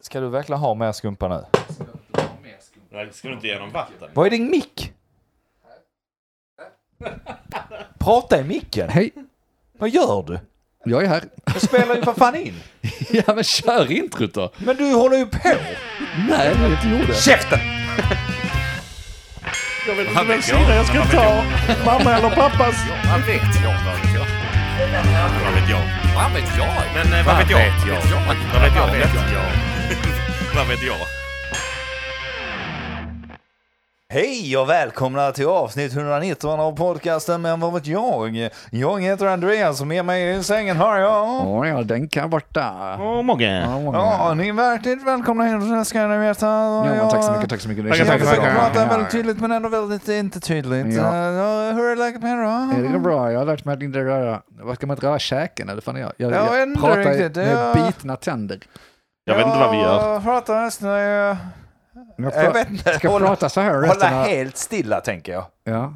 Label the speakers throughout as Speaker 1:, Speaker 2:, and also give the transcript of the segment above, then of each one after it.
Speaker 1: Ska du verkligen ha mer skumpa nu?
Speaker 2: Nej, ska du inte ge dem vatten?
Speaker 1: Vad är din mick? Prata i micken.
Speaker 3: Hej,
Speaker 1: Vad gör du?
Speaker 3: jag är här.
Speaker 1: Du spelar ju för fan in.
Speaker 3: Ja men kör introt då.
Speaker 1: Men du håller ju på.
Speaker 3: Nej, det inte gjorde.
Speaker 1: Käften!
Speaker 4: Jag vet inte vem sida jag ska ta. Mamma eller pappas?
Speaker 5: Vad vet jag? Vad vet jag?
Speaker 2: Vad vet jag?
Speaker 5: Vad vet jag?
Speaker 2: Men eh, vad vet jag? Vad vet jag? Vad vet jag? Vad vet jag?
Speaker 1: Hej och välkomna till avsnitt 119 av podcasten Men vad vet jag? Jag heter Andreas och med mig i sängen har jag...
Speaker 3: Åh ja, den kan borta.
Speaker 2: Åh, Mogge.
Speaker 1: Ja, ni är verkligt välkomna in så ska ni veta.
Speaker 3: Ja, men tack så mycket, tack så mycket. Det
Speaker 2: Tackar,
Speaker 1: Jag
Speaker 2: tackar,
Speaker 1: försöker
Speaker 2: tackar.
Speaker 1: prata väldigt tydligt men ändå väldigt inte tydligt.
Speaker 3: Ja.
Speaker 1: Eh, Hur är läget med er då?
Speaker 3: Är det går bra? Jag har lärt mig att inte röra, vad ska man inte röra käken eller vad fan är jag? Jag,
Speaker 1: Ja,
Speaker 3: jag,
Speaker 1: ändå
Speaker 3: pratar
Speaker 1: riktigt,
Speaker 3: med
Speaker 1: ja.
Speaker 3: bitna tänder.
Speaker 2: Jag vet inte vad vi gör.
Speaker 1: Jag pratar nästan... eh,
Speaker 3: Men
Speaker 1: Jag
Speaker 3: jag, pra-
Speaker 1: vet inte.
Speaker 3: ska
Speaker 1: Hålla-
Speaker 3: prata så här
Speaker 1: Hålla
Speaker 3: resten av...
Speaker 1: helt stilla tänker jag.
Speaker 3: Ja.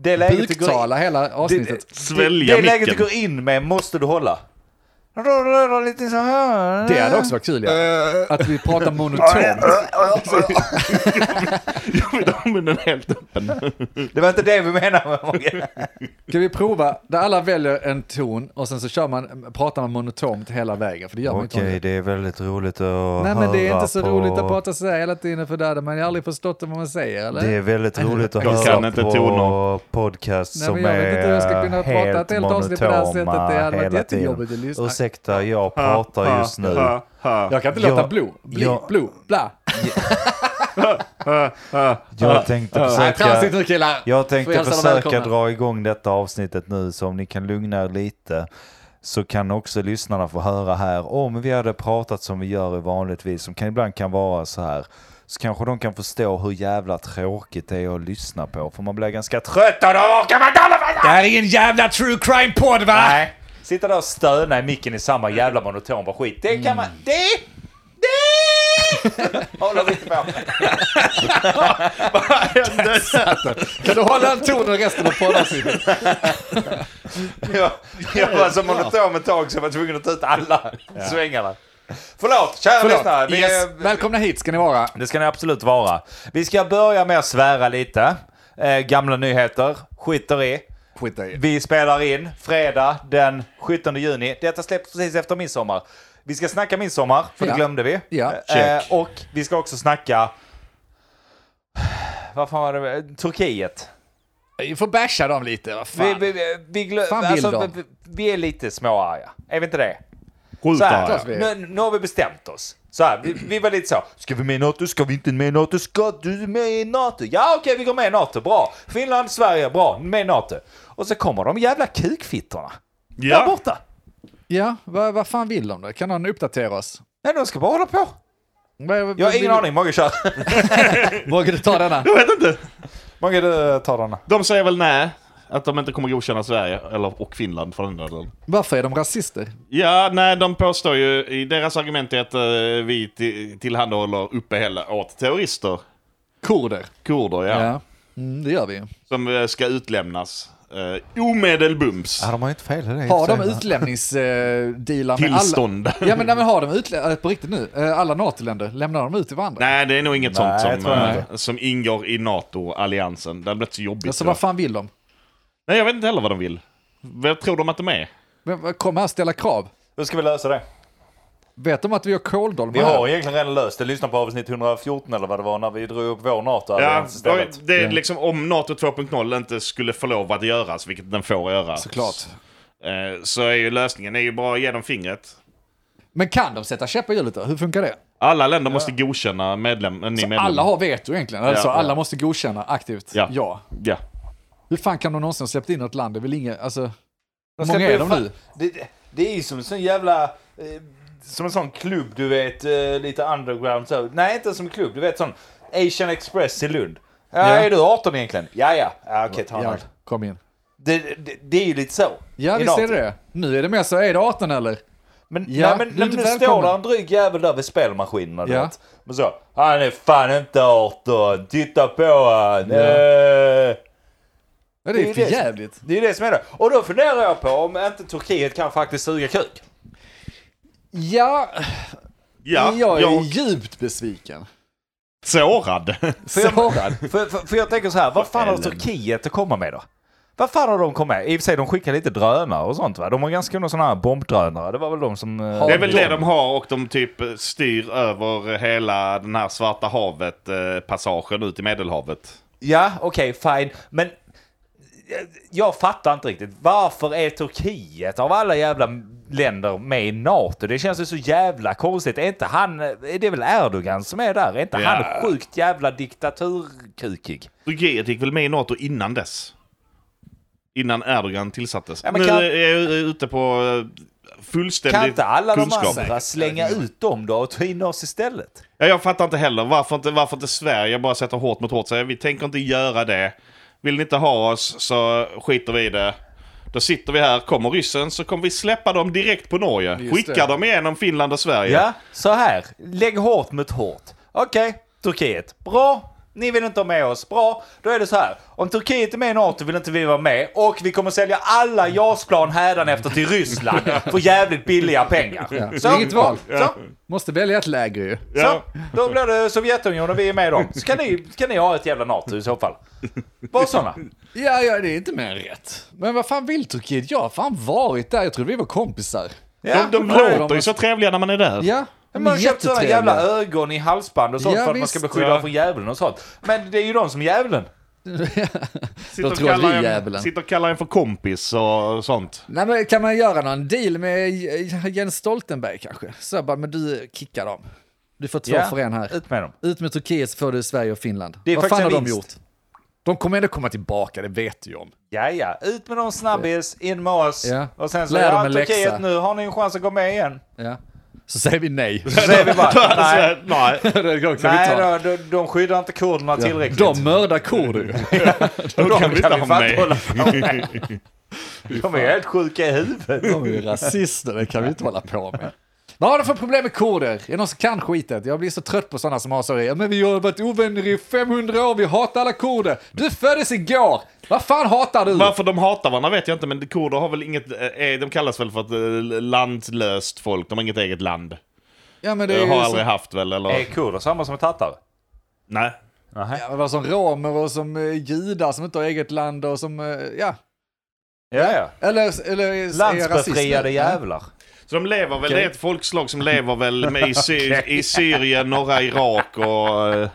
Speaker 1: Det läget du går in,
Speaker 3: Buktala hela avsnittet.
Speaker 1: det,
Speaker 2: Svälja
Speaker 1: det läget du
Speaker 2: micken.
Speaker 1: går in med måste du hålla. Röra, röra lite så här.
Speaker 3: Det hade också varit kul ja.
Speaker 1: Eh.
Speaker 3: Att vi pratar monotont.
Speaker 2: Jag vill ha munnen helt öppen.
Speaker 1: Det var inte det vi menade med Mogge.
Speaker 3: Ska vi prova där alla väljer en ton och sen så kör man, pratar man monotont hela vägen. För det gör man inte vanligtvis.
Speaker 1: det är väldigt roligt att
Speaker 3: Nej men det är inte så roligt att prata så här hela tiden för då hade man ju aldrig förstått vad man säger eller?
Speaker 1: är väldigt roligt att
Speaker 2: Jag höra kan inte på toner.
Speaker 1: podcast
Speaker 3: Nej, men jag vet inte hur jag ska kunna prata ett helt avsnitt på det här sättet. Det hade varit jättejobbigt att lyssna.
Speaker 1: Ursäkta, jag pratar just nu.
Speaker 3: Jag kan inte
Speaker 1: Jag-
Speaker 3: låta blo, bli,
Speaker 1: jag-
Speaker 3: blo, bla.
Speaker 1: Jag tänkte
Speaker 3: Nej, tramsigt
Speaker 1: försöka...
Speaker 3: nu killar.
Speaker 1: Jag
Speaker 3: Får
Speaker 1: tänkte
Speaker 3: hälsa dem
Speaker 1: försöka
Speaker 3: välkomna.
Speaker 1: dra igång detta avsnittet nu så om ni kan lugna er lite så kan också lyssnarna få höra här om vi hade pratat som vi gör vanligtvis som kan, ibland kan vara så här så kanske de kan förstå hur jävla tråkigt det är att lyssna på för man blir ganska trött och då orkar man inte hålla på.
Speaker 4: Det här är ingen jävla true crime-podd va?
Speaker 1: Nej, sitta där och stöna i micken i samma jävla monoton bara skit. Det kan man... Det! Det! Håller vi inte på med.
Speaker 3: Kan du hålla en ton och resten av poddavsnittet?
Speaker 1: Jag, jag var så monotom ett tag så jag var tvungen att ta ut alla svängarna. Förlåt, kära lyssnare.
Speaker 3: Förlåt.
Speaker 1: vi-
Speaker 3: Yes. Välkomna hit ska ni vara.
Speaker 1: Det ska ni absolut vara. Vi ska börja med att svära lite. Eh, gamla nyheter, skiter i.
Speaker 3: Skit i det.
Speaker 1: Vi spelar in fredag den 17 juni. Detta släpps precis efter midsommar. Vi ska snacka midsommar, för det
Speaker 3: Ja.
Speaker 1: glömde vi.
Speaker 3: Ja,
Speaker 1: eh,
Speaker 2: check.
Speaker 1: och vi ska också snacka... Vad fan var det? Turkiet.
Speaker 3: Vi får basha dem lite, vad
Speaker 1: Vi,
Speaker 3: fan.
Speaker 1: vi, vi, vi, glö-
Speaker 3: Fan vill
Speaker 1: alltså,
Speaker 3: de.
Speaker 1: vi, vi är lite småarga. Är vi inte det?
Speaker 2: Skjut
Speaker 1: Så här,
Speaker 2: här.
Speaker 3: vi
Speaker 1: nu,
Speaker 3: är.
Speaker 1: nu har vi bestämt oss. Så här, vi, vi var lite så. Ska vi med i NATO? Ska vi inte med i NATO? Ska du med i NATO? Ja, okej, vi går med i NATO. Bra. Finland, Sverige, bra. Med i NATO. Och så kommer de jävla kukfittorna. Där
Speaker 2: Ja,
Speaker 1: borta.
Speaker 3: Ja, vad, vad fan vill de då? Kan någon uppdatera oss?
Speaker 1: Nej, de ska bara hålla på. Jag har ingen aning. Mogge, kör.
Speaker 3: Vågar du ta denna?
Speaker 2: jag vet inte.
Speaker 1: Mogge, du eh, tar den.
Speaker 2: De säger väl nej. Att de inte kommer godkänna Sverige, eller och Finland för den delen.
Speaker 3: Varför är de rasister?
Speaker 2: Ja, nej, de påstår ju i deras argument är att eh, vi ti- tillhandahåller uppehälle åt terrorister.
Speaker 3: Kurder.
Speaker 2: Kurder, ja.
Speaker 3: Ja. Mm, det gör vi ju.
Speaker 2: Som eh, ska utlämnas. Eh, omedelbums.
Speaker 1: Ja, de har ju inte fel. Det
Speaker 3: Har de utlämningsdealar med alla...
Speaker 2: Tillstånd.
Speaker 3: Ja men, nej, men har de utlä- eh, på riktigt nu, eh, alla NATO-länder, lämnar de ut till varandra?
Speaker 2: Nej, det är nog inget
Speaker 1: Nej, jag
Speaker 2: sånt som,
Speaker 1: tror
Speaker 2: eh,
Speaker 1: inte.
Speaker 2: som ingår i NATO-alliansen. Det hade blivit så jobbigt.
Speaker 3: Alltså
Speaker 2: då.
Speaker 3: vad fan vill de?
Speaker 2: Nej, jag vet inte heller vad de vill. Vad tror de att de är?
Speaker 3: Men, vad- Kom här och ställa krav.
Speaker 1: Hur ska vi lösa det?
Speaker 3: Vet de att vi har kåldolmar
Speaker 1: Vi
Speaker 3: här?
Speaker 1: har egentligen redan löst det. Lyssna på avsnitt 114 eller vad det var när vi drog upp vår
Speaker 2: Ja,
Speaker 1: NATO-allians istället.
Speaker 2: det är liksom om NATO 2.0 inte skulle få lov att göras, vilket den får göra.
Speaker 3: Såklart.
Speaker 2: eh, Så är ju lösningen är ju bara att ge dem fingret.
Speaker 3: Men kan de sätta käppar i hjulet då? Hur funkar det?
Speaker 2: Alla länder måste godkänna medlem, en ny medlem.
Speaker 3: Alla har veto egentligen, alltså
Speaker 2: Ja, ja.
Speaker 3: alla måste godkänna aktivt.
Speaker 2: Ja.
Speaker 3: Ja.
Speaker 2: Ja.
Speaker 3: Hur fan kan de någonsin ha släppt in något land? Det är väl ingen, alltså... Hur
Speaker 1: Släpp
Speaker 3: många är de
Speaker 1: fan-
Speaker 3: nu?
Speaker 1: Det, det- det är ju som en sån jävla... Eh, som en sån klubb, du vet, eh, lite underground så. Nej, inte som klubb. Du vet sån Asian Express i Lund. Ja,
Speaker 3: Ja.
Speaker 1: är du 18 egentligen? Ja, ja. ja okej, ta en
Speaker 3: Ja,
Speaker 1: öl.
Speaker 3: kom in.
Speaker 1: det, det, det är ju lite så.
Speaker 3: Ja,
Speaker 1: i
Speaker 3: visst är
Speaker 1: NATO.
Speaker 3: det det. Nu är det mer så, är det 18 eller?
Speaker 1: Men,
Speaker 3: Ja,
Speaker 1: nej, men,
Speaker 3: du
Speaker 1: nej,
Speaker 3: är
Speaker 1: men
Speaker 3: inte
Speaker 1: nu står
Speaker 3: välkommen.
Speaker 1: där en dryg jävel där vid spelmaskinerna. du
Speaker 3: Ja.
Speaker 1: vet. Men så, han är fan inte 18, titta på han. Eh.
Speaker 3: Ja, det är för
Speaker 1: som-
Speaker 3: jävligt.
Speaker 1: Det är ju det som är det. Och då funderar jag på om inte Turkiet kan faktiskt suga kuk.
Speaker 3: Ja,
Speaker 2: Ja,
Speaker 3: jag är
Speaker 2: jag är
Speaker 3: djupt besviken.
Speaker 2: sårad.
Speaker 3: Sårad.
Speaker 1: För, för, för jag tänker så här, vad fan har
Speaker 2: Ellen.
Speaker 1: Turkiet att komma med då? Vad fan har de kommit med? I och för sig, de skickar lite drönare och sånt va? De har ganska många sådana här bombdrönare. Det var väl de som... eh,
Speaker 2: Det
Speaker 3: Har-
Speaker 2: är väl det de har och de typ styr över hela den här Svarta havet-passagen ut i Medelhavet.
Speaker 1: Ja, okej, fine. Men jag, jag fattar inte riktigt. Varför är Turkiet av alla jävla länder med i NATO? Det känns ju så jävla konstigt. Är inte han... eh, Det är väl Erdogan som är där? Är inte
Speaker 2: Ja.
Speaker 1: han sjukt jävla diktaturkukig?
Speaker 2: Turkiet gick väl med i NATO innan dess? Innan Erdogan tillsattes.
Speaker 1: Ja, men
Speaker 2: nu
Speaker 1: kan-
Speaker 2: är jag ute på eh, fullständig
Speaker 1: Kan inte alla de
Speaker 2: kunskap.
Speaker 1: andra slänga ut dem då och ta in oss istället?
Speaker 2: Ja, jag fattar inte heller varför inte, varför inte Sverige bara sätter hårt mot hårt. Säger vi tänker inte göra det. Vill ni inte ha oss så skiter vi i det. Då sitter vi här, kommer ryssen så kommer vi släppa dem direkt på Norge.
Speaker 3: Just
Speaker 2: Skickar
Speaker 3: det.
Speaker 2: dem igenom Finland och Sverige.
Speaker 1: Ja, så här. Lägg hårt mot hårt. Okej, Turkiet. Bra. Ni vill inte ha med oss. Bra. Då är det så här. Om Turkiet är med i NATO vill inte vi vara med och vi kommer sälja alla JAS-plan hädanefter till Ryssland för jävligt billiga pengar.
Speaker 3: Ja. Inget val.
Speaker 1: Så,
Speaker 3: Måste välja ett läger ju.
Speaker 1: så. Då blir det Sovjetunionen och vi är med i dem. Så kan ni, kan ni ha ett jävla NATO i så fall. Bara sådana.
Speaker 3: Ja, ja, det är inte mer än rätt. Men vad fan vill Turkiet? Jag har fan varit där. Jag trodde vi var kompisar.
Speaker 1: Ja.
Speaker 2: De, de
Speaker 3: Ja, de
Speaker 2: låter
Speaker 3: måste-
Speaker 2: ju så trevliga när man är där.
Speaker 3: Ja,
Speaker 1: Men Man har köpt sådana
Speaker 3: jättetrevliga.
Speaker 1: jävla ögon i halsband och sånt
Speaker 3: Ja,
Speaker 1: för att man ska bli
Speaker 3: visst.
Speaker 1: skyddad
Speaker 2: Ja.
Speaker 1: från djävulen och sånt. Men det är ju de som är djävulen.
Speaker 2: Sitter och
Speaker 3: tror vi
Speaker 2: kallar en-
Speaker 3: djävulen.
Speaker 2: Sitter och kallar en för kompis och sånt.
Speaker 3: Nej, men kan man göra någon deal med Jens Stoltenberg kanske? Så jag bara, men du kickar dem. Du får två
Speaker 1: Ja,
Speaker 3: för en här.
Speaker 1: Ut med dem.
Speaker 3: Ut med Turkiet så får du Sverige och Finland.
Speaker 1: Det är
Speaker 3: Vad fan
Speaker 1: faktiskt
Speaker 3: har
Speaker 1: en
Speaker 3: de
Speaker 1: vinst.
Speaker 3: gjort? De kommer ändå komma tillbaka, det vet du ju om.
Speaker 1: Ja, ja. Ut med dem snabbis, in med oss.
Speaker 3: Ja.
Speaker 1: Och sen så,
Speaker 3: Lär dem
Speaker 1: ja,
Speaker 3: en läxa.
Speaker 1: Turkiet nu har ni en chans att gå med igen.
Speaker 3: Ja. Så säger vi nej.
Speaker 1: Så säger vi bara, nej,
Speaker 2: Så, Alltså, nej.
Speaker 3: Det är klart, kan vi
Speaker 1: nej då,
Speaker 3: ta.
Speaker 1: de, de skyddar inte kurderna tillräckligt.
Speaker 3: De mördar kurder ju.
Speaker 2: Då
Speaker 1: De
Speaker 2: kan vi inte ha
Speaker 1: fan
Speaker 2: med.
Speaker 1: hålla på med. De är helt sjuka i huvudet.
Speaker 3: De är ju rasister, det kan vi inte hålla på med. Vad har de för problem med kurder? Är det någon som kan skitet? Jag blir så trött på sådana som har så ja, men vi har varit ovänner i 500 år, vi hatar alla kurder. Du föddes igår! Vad fan hatar du?
Speaker 2: Varför de hatar varandra vet jag inte, men kurder har väl inget... eh, eh, De kallas väl för ett eh, landlöst folk, de har inget eget land.
Speaker 3: Ja, men det är
Speaker 2: Det
Speaker 3: ju
Speaker 2: har
Speaker 3: så-
Speaker 2: aldrig haft väl, eller?
Speaker 1: Är kurder samma som tattar?
Speaker 2: Nej.
Speaker 1: Nej.
Speaker 3: Ja, men vad som romer och som eh, judar som inte har eget land och som, eh, ja.
Speaker 1: Ja, ja.
Speaker 3: Eller, eller är rasist
Speaker 1: Landsbefriade
Speaker 3: nu?
Speaker 1: jävlar.
Speaker 2: Så de lever väl, det är ett folkslag som lever väl med i, Sy-
Speaker 1: Okej.
Speaker 2: i Syrien, norra Irak och eh,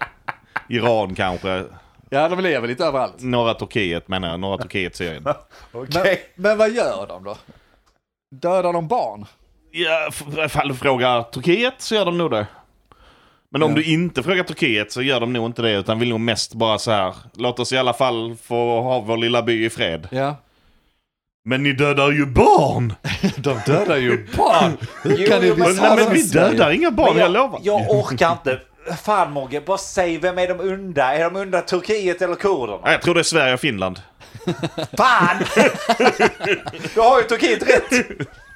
Speaker 2: Iran kanske.
Speaker 3: Ja, de lever lite överallt.
Speaker 2: Norra Turkiet menar jag, norra Turkiet, Syrien.
Speaker 1: Okej.
Speaker 3: Men, men vad gör de då? Dödar de barn?
Speaker 2: Ja, f- ifall du frågar Turkiet så gör de nog det. Men om du inte frågar Turkiet så gör de nog inte det utan vill nog mest bara så här. Låt oss i alla fall få ha vår lilla by i fred.
Speaker 3: Ja.
Speaker 2: Men ni dödar ju barn!
Speaker 3: De dödar ju barn! Hur
Speaker 1: Jo,
Speaker 3: kan det
Speaker 1: jo,
Speaker 3: bli
Speaker 1: men-
Speaker 3: så?
Speaker 2: Nej, men
Speaker 3: som
Speaker 2: vi
Speaker 3: Sverige?
Speaker 2: dödar inga barn,
Speaker 1: Men
Speaker 2: jag lovar.
Speaker 1: jag orkar inte. Fan Mogge, bara säg vem är de onda? Är de onda Turkiet eller kurderna?
Speaker 2: Nej, Jag tror det är Sverige och Finland.
Speaker 1: Fan! Då har ju Turkiet rätt.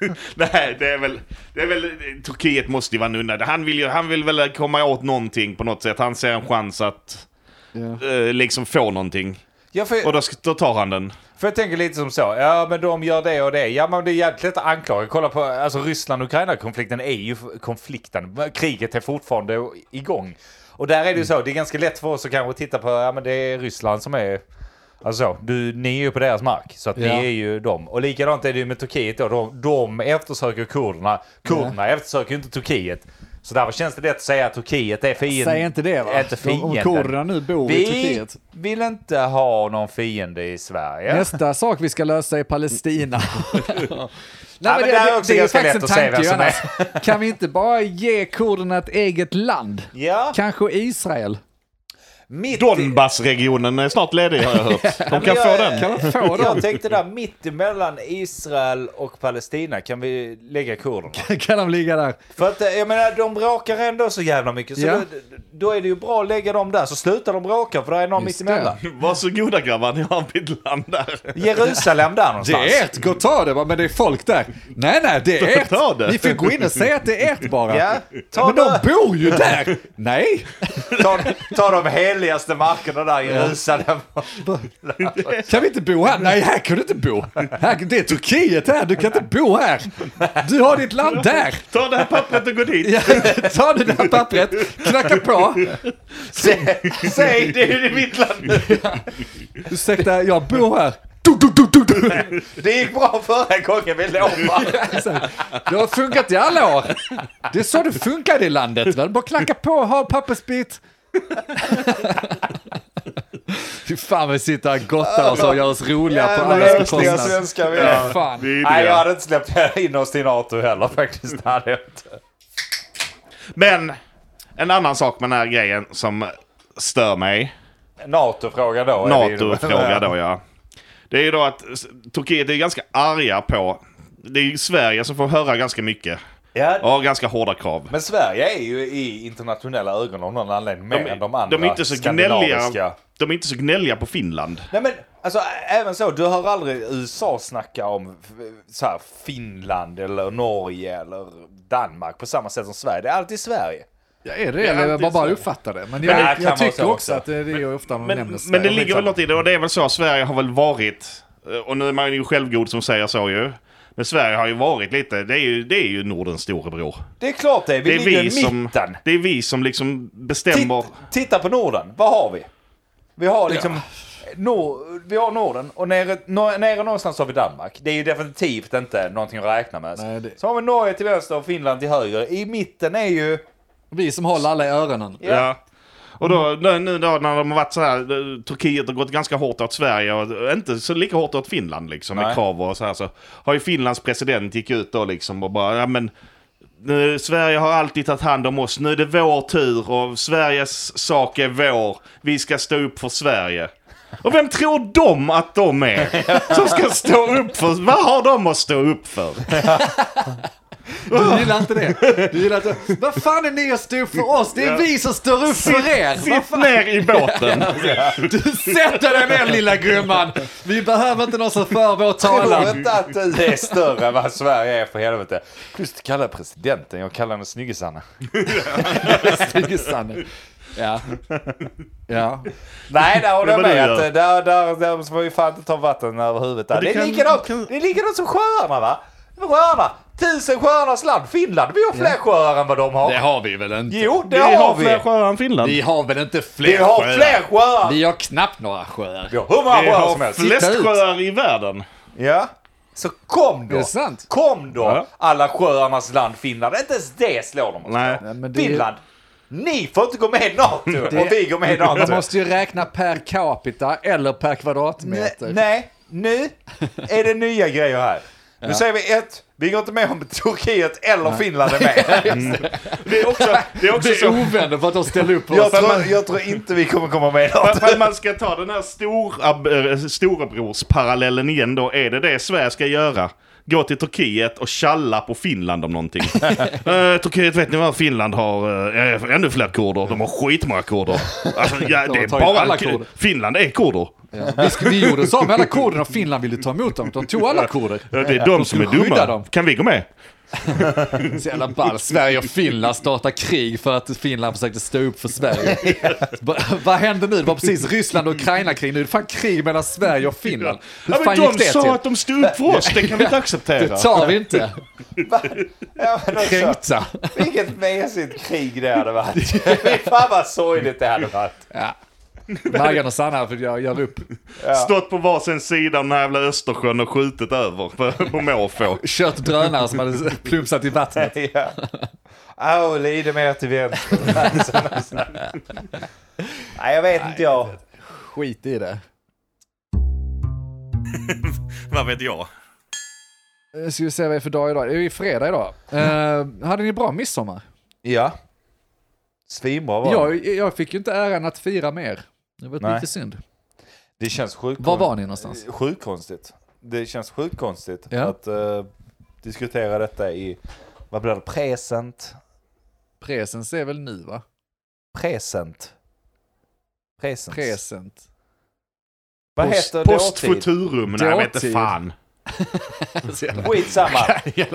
Speaker 2: Nej, det är väl... Det är väl Turkiet måste ju vara nunna. Han vill, ju, han vill väl komma åt någonting på något sätt. Han ser en chans att
Speaker 3: Ja.
Speaker 2: eh, liksom få någonting.
Speaker 1: Ja, för,
Speaker 2: Och då, ska- då tar han den.
Speaker 1: för jag tänker lite som så. Ja, men de gör det och det. Ja, men det är jävligt lätt att anklaga. Kolla på alltså, Ryssland-Ukraina-konflikten är ju konflikten. Kriget är fortfarande igång. Och där är det ju så. Det är ganska lätt för oss att kanske titta på. Ja, men det är Ryssland som är... Alltså, du, ni är ju på deras mark, så att
Speaker 3: Ja.
Speaker 1: ni är ju dem. Och likadant är det ju med Turkiet då. De, de eftersöker kurderna. Kurderna eftersöker ju inte Turkiet. Så därför känns det lätt att säga att Turkiet är fienden.
Speaker 3: Säg inte det va?
Speaker 1: Inte
Speaker 3: De- Om
Speaker 1: fienden.
Speaker 3: kurderna nu bor i
Speaker 1: Vi
Speaker 3: Turkiet.
Speaker 1: vill inte ha någon fiende i Sverige.
Speaker 3: Nästa sak vi ska lösa är Palestina. Nej,
Speaker 1: men det är också
Speaker 3: ju
Speaker 1: ganska lätt
Speaker 3: faktiskt en
Speaker 1: att säga
Speaker 3: tanke
Speaker 1: vem som
Speaker 3: ju annars. Kan vi inte bara ge kurderna ett eget land?
Speaker 1: Ja,
Speaker 3: Kanske Israel?
Speaker 1: mitt i,
Speaker 2: Donbassregionen är snart ledig har jag hört. De kan
Speaker 1: men
Speaker 2: få
Speaker 1: jag-
Speaker 2: den.
Speaker 3: Kan man få dem?
Speaker 1: jag tänkte där mitt emellan Israel och Palestina kan vi lägga kurderna.
Speaker 3: Kan de ligga där?
Speaker 1: För att eh, jag menar, de bråkar ändå så jävla mycket. Så
Speaker 3: Ja.
Speaker 1: då, då är det ju bra att lägga dem där, så slutar de bråka för där är någon
Speaker 3: Just
Speaker 1: mitt emellan.
Speaker 2: Varsågoda grabbar, ni har mitt land där.
Speaker 1: Jerusalem där
Speaker 3: Det
Speaker 1: någonstans.
Speaker 3: är ert, gå och ta det va, men det är folk där. Nej, nej, det är
Speaker 2: Ta
Speaker 3: ert.
Speaker 2: det.
Speaker 3: Ni får gå in och säga att det är ert bara.
Speaker 1: Ja, ta,
Speaker 3: men de
Speaker 1: dem-
Speaker 3: bor ju där! Nej!
Speaker 1: ta, ta dem billigaste markerna där i rusade.
Speaker 3: Kan vi inte bo här? Nej, här kan du inte bo. Här, det är Turkiet här, du kan inte bo här. Du har ditt land där.
Speaker 2: Ta det här pappret och gå dit.
Speaker 3: Ja, ta det där pappret, knacka på.
Speaker 1: Säg, det är ju mitt land.
Speaker 3: Ursäkta, jag bor här. Du, du, du, du, du.
Speaker 1: Det gick bra förra gången, vi lovar.
Speaker 3: Det har funkat i alla år. Det är så det funkar i landet. Va? Bara knacka på, ha en pappersbit. Fy fan vad vi sitter här och gottar oss och gör oss roliga på
Speaker 1: Jävla
Speaker 3: allas
Speaker 1: ösliga
Speaker 3: bekostnad.
Speaker 1: svenskar vi
Speaker 3: Fy
Speaker 1: är.
Speaker 3: Fan.
Speaker 2: Vi är
Speaker 1: Nej, jag
Speaker 2: det.
Speaker 1: hade inte släppt in oss till NATO heller faktiskt. Det hade jag inte.
Speaker 2: Men en annan sak med den här grejen som stör mig.
Speaker 1: NATO-fråga då. är det ju.
Speaker 2: NATO-fråga då ja. Det är ju då att s- Turkiet är ganska arga på... Det är ju Sverige som får höra ganska mycket.
Speaker 1: Ja,
Speaker 2: Ja, ganska hårda krav.
Speaker 1: Men Sverige är ju i internationella ögon av någon anledning mer än de andra
Speaker 2: de är inte så gnälliga. De är inte så gnälliga på Finland.
Speaker 1: Nej men alltså ä- även så, du hör aldrig USA snacka om f- så här, Finland eller Norge eller Danmark på samma sätt som Sverige. Det är alltid Sverige.
Speaker 3: Jag är det, eller jag bara, bara uppfattar det. Men jag,
Speaker 1: det
Speaker 3: jag,
Speaker 1: kan vara
Speaker 3: tycker
Speaker 1: så
Speaker 3: också
Speaker 1: också.
Speaker 3: att det det är ju ofta man nämner
Speaker 2: Men,
Speaker 3: Sverige.
Speaker 2: men det ligger väl något i det och det är väl så. Sverige har väl varit, eh, och nu är man ju självgod som säger så ju. Men Sverige har ju varit lite, det är ju, det är ju Nordens storebror.
Speaker 1: Det är klart det, vi
Speaker 2: Det är
Speaker 1: ligger
Speaker 2: vi
Speaker 1: i
Speaker 2: som,
Speaker 1: mitten.
Speaker 2: det är vi som liksom bestämmer.
Speaker 1: Titt, titta på Norden, vad har vi? Vi har liksom... Nor- vi har Norden och nere, no- nere någonstans har vi Danmark. Det är ju definitivt inte någonting att räkna med.
Speaker 3: Nej, det-
Speaker 1: Så har vi Norge till vänster och Finland till höger. I mitten är ju...
Speaker 3: Vi som håller alla i öronen.
Speaker 2: Ja. Och då, nu, nu då när de har varit så här, eh, Turkiet har gått ganska hårt åt Sverige och inte så lika hårt åt Finland liksom med
Speaker 1: Nej.
Speaker 2: krav och så här så har ju Finlands president gick ut då liksom och bara, ja men nu, Sverige har alltid tagit hand om oss, nu är det vår tur och Sveriges sak är vår, vi ska stå upp för Sverige. Och vem tror de att de är? Som ska stå upp för, vad har de att stå upp för?
Speaker 3: Du gillar inte det? Du gillar inte... Vad fan är ni och står upp för oss? Det är vi som står upp för er! Vad
Speaker 2: Sitt ner i båten!
Speaker 3: Du sätter dig ner lilla gumman! Vi behöver inte någon som för vår
Speaker 1: Tror
Speaker 3: talan.
Speaker 1: inte att du är större än vad Sverige är för helvete. Plus att kalla presidenten, jag kallar henne Snyggisanna.
Speaker 3: Sanne. Ja. Ja.
Speaker 1: Nej, där håller
Speaker 2: Det
Speaker 1: jag
Speaker 2: var
Speaker 1: med.
Speaker 2: du, ja.
Speaker 1: Att, där, där, där får vi fan inte ta vatten över huvudet. Där.
Speaker 2: det
Speaker 1: Det, är
Speaker 2: kan-
Speaker 1: likadant,
Speaker 2: kan-
Speaker 1: det är likadant som sjöarna va? Sjöarna, tusen sjöarnas land. Finland, vi har fler sjöar än vad de har.
Speaker 3: Det har vi väl inte?
Speaker 1: Jo, det
Speaker 2: Vi
Speaker 1: har,
Speaker 2: har
Speaker 1: vi.
Speaker 2: fler sjöar än Finland.
Speaker 3: Vi har väl inte
Speaker 1: vi
Speaker 3: fler
Speaker 1: har
Speaker 3: sjöar?
Speaker 1: fler sjöar.
Speaker 3: Vi har knappt några sjöar.
Speaker 1: Vi har hur många
Speaker 2: Vi
Speaker 1: sjöar som
Speaker 2: har
Speaker 1: helst.
Speaker 2: flest
Speaker 3: Titta ut.
Speaker 2: sjöar i världen.
Speaker 1: Ja. Så kom då.
Speaker 3: Det är sant.
Speaker 1: Kom då,
Speaker 2: Ja.
Speaker 1: alla sjöarnas land Finland. Inte ens det slår de oss.
Speaker 2: Nej.
Speaker 3: Nej, men det-
Speaker 1: Finland, ni får inte gå med i NATO och vi går med i NATO.
Speaker 3: Man måste ju räkna per capita eller per kvadratmeter.
Speaker 1: Nej, nej, nu är det nya grejer här. Nu säger vi ett, vi går inte med om Turkiet eller Finland är med.
Speaker 2: Det är också, det är också
Speaker 3: Det är
Speaker 2: så.
Speaker 3: ovänner för att de ställer upp för
Speaker 1: Jag
Speaker 3: oss.
Speaker 1: tror, jag tror inte vi kommer komma med i NATO.
Speaker 2: För att man ska ta den här stora, äh, storebrorsparallellen igen då. Är det det Sverige ska göra? Gå till Turkiet och tjalla på Finland om någonting. Eh, Turkiet vet ni vad? Finland har äh, ännu fler kurder. De har skitmånga kurder. Alltså, ja, det är
Speaker 3: tagit alla
Speaker 2: bara...
Speaker 3: kurder.
Speaker 2: Finland är kurder.
Speaker 3: Ja. Vi, sk- vi gjorde så med alla kurderna och Finland ville ta emot dem. De tog alla kurder.
Speaker 2: Eh, Det är de som är
Speaker 3: skulle skydda
Speaker 2: dumma.
Speaker 3: dem.
Speaker 2: Kan vi gå med?
Speaker 3: Så jävla ball. Sverige och Finland startar krig för att Finland försökte stå upp för Sverige. Bara, Vad hände nu? Det var precis Ryssland och Ukraina-krig. Nu är det fan krig mellan Sverige och Finland. Hur
Speaker 2: Ja,
Speaker 3: fan
Speaker 2: men
Speaker 3: gick
Speaker 2: de
Speaker 3: det
Speaker 2: sa
Speaker 3: till?
Speaker 2: att de stod upp för oss. Det kan vi inte acceptera.
Speaker 3: Det tar vi inte.
Speaker 1: Ja, men också,
Speaker 3: Kränkta.
Speaker 1: vilket mesigt krig det hade varit. Fy Fan vad sorgligt det hade varit.
Speaker 3: Maggan och Sanna för jag gör upp.
Speaker 2: Stått på varsin sida om den här jävla Östersjön och skjutit över på, på måfå.
Speaker 3: Kört drönare som hade plumsat i vattnet.
Speaker 1: Ja. Au, lide mer till vänster. Alltså, Nej, jag vet inte jag.
Speaker 3: Skit i det.
Speaker 2: Vad vet jag?
Speaker 3: Eh, Ska vi se vad det är för dag idag? Det är ju fredag idag. Eh, hade ni bra midsommar?
Speaker 1: Ja. Svinbra var det.
Speaker 3: Jag, jag fick ju inte äran att fira med er. Det var
Speaker 1: Nej.
Speaker 3: lite synd.
Speaker 1: Det känns sjukt.
Speaker 3: Var var ni någonstans?
Speaker 1: Sjukt konstigt. Det känns sjukt konstigt
Speaker 3: Ja.
Speaker 1: att eh, diskutera detta i, vad blir det, present?
Speaker 3: Presens är väl nu va?
Speaker 1: Present? Present?
Speaker 3: Present.
Speaker 1: Vad
Speaker 3: Post-
Speaker 1: heter
Speaker 2: Post
Speaker 1: dåtid?
Speaker 2: futurum? Nej, jag vet inte
Speaker 3: Dåtid.
Speaker 2: fan.
Speaker 1: Skitsamma. Eh,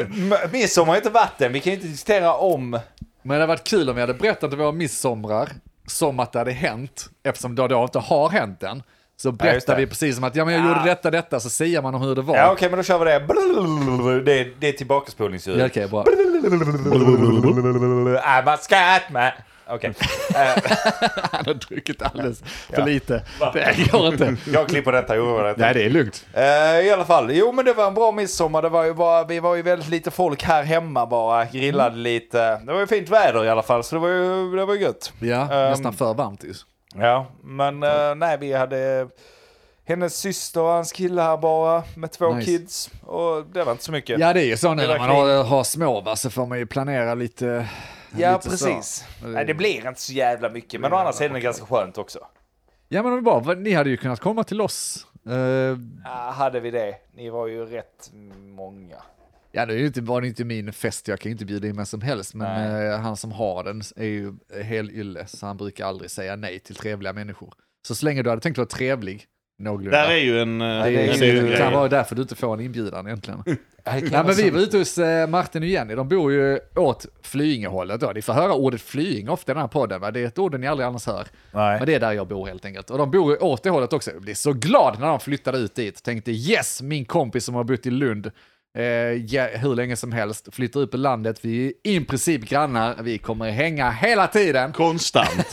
Speaker 1: M- m- Midsommar är inte vatten, vi kan ju inte diskutera om...
Speaker 3: Men det hade varit kul om vi hade berättat om våra midsomrar som att det hade hänt, eftersom det då inte har hänt än. Så
Speaker 1: just
Speaker 3: berättar
Speaker 1: det.
Speaker 3: vi precis som att ja, men jag gjorde detta, detta, så säger man om hur det var.
Speaker 1: Ja, okej, men då kör vi det. Blablabla. Det är, det är tillbakaspolningsljud.
Speaker 3: Ja, okej, bra.
Speaker 1: Blablabla. I'm a scatman. Okej,
Speaker 3: Han har druckit alldeles för lite. Det går inte.
Speaker 1: jag klipper detta. Jag oroar detta.
Speaker 3: Nej, det är lugnt.
Speaker 1: Eh, I alla fall, jo men det var en bra midsommar. Det var ju bara, vi var ju väldigt lite folk här hemma bara. Grillade
Speaker 3: Mm.
Speaker 1: lite. Det var ju fint väder i alla fall, så det var ju, det var ju gött.
Speaker 3: Ja,
Speaker 1: Ehm,
Speaker 3: nästan för varmt ju.
Speaker 1: Ja, men eh, nej, vi hade hennes syster och hans kille här bara med två
Speaker 3: Nice.
Speaker 1: kids. Och det var inte så mycket.
Speaker 3: Ja, det är ju så nu när man
Speaker 1: verkligen-
Speaker 3: har, har små, va, så får man ju planera lite.
Speaker 1: Ja,
Speaker 3: lite så.
Speaker 1: precis. Nej, det blir inte så jävla mycket, men å andra sidan är det ganska skönt också.
Speaker 3: Ja, men om vi bara, ni hade ju kunnat komma till oss. Eh,
Speaker 1: Ja, hade vi det? Ni var ju rätt många.
Speaker 3: Ja, det är ju inte, var det inte min fest, jag kan ju inte bjuda in vem som helst, men eh, han som har den är ju hel ylle, så han brukar aldrig säga nej till trevliga människor. Så så länge du hade tänkt vara trevlig, någorlunda.
Speaker 2: Där är ju en... eh,
Speaker 3: det,
Speaker 1: det är
Speaker 2: en
Speaker 3: är,
Speaker 1: ju-
Speaker 2: dyr
Speaker 3: det
Speaker 2: grej.
Speaker 3: kan vara därför du inte får en inbjudan egentligen. Ja, men vi var ute hos eh, Martin och Jenny, de bor ju åt Flyingehållet då. Ni får höra ordet Flyinge ofta i den här podden, va? det är ett ord ni aldrig annars hör.
Speaker 1: Nej.
Speaker 3: Men det är där jag bor helt enkelt. Och de bor ju åt det hållet också. Jag blev så glad när de flyttade ut dit. Tänkte yes, min kompis som har bott i Lund eh, ja, hur länge som helst, flyttar ut på landet, vi är i princip grannar, vi kommer hänga hela tiden.
Speaker 2: Konstant.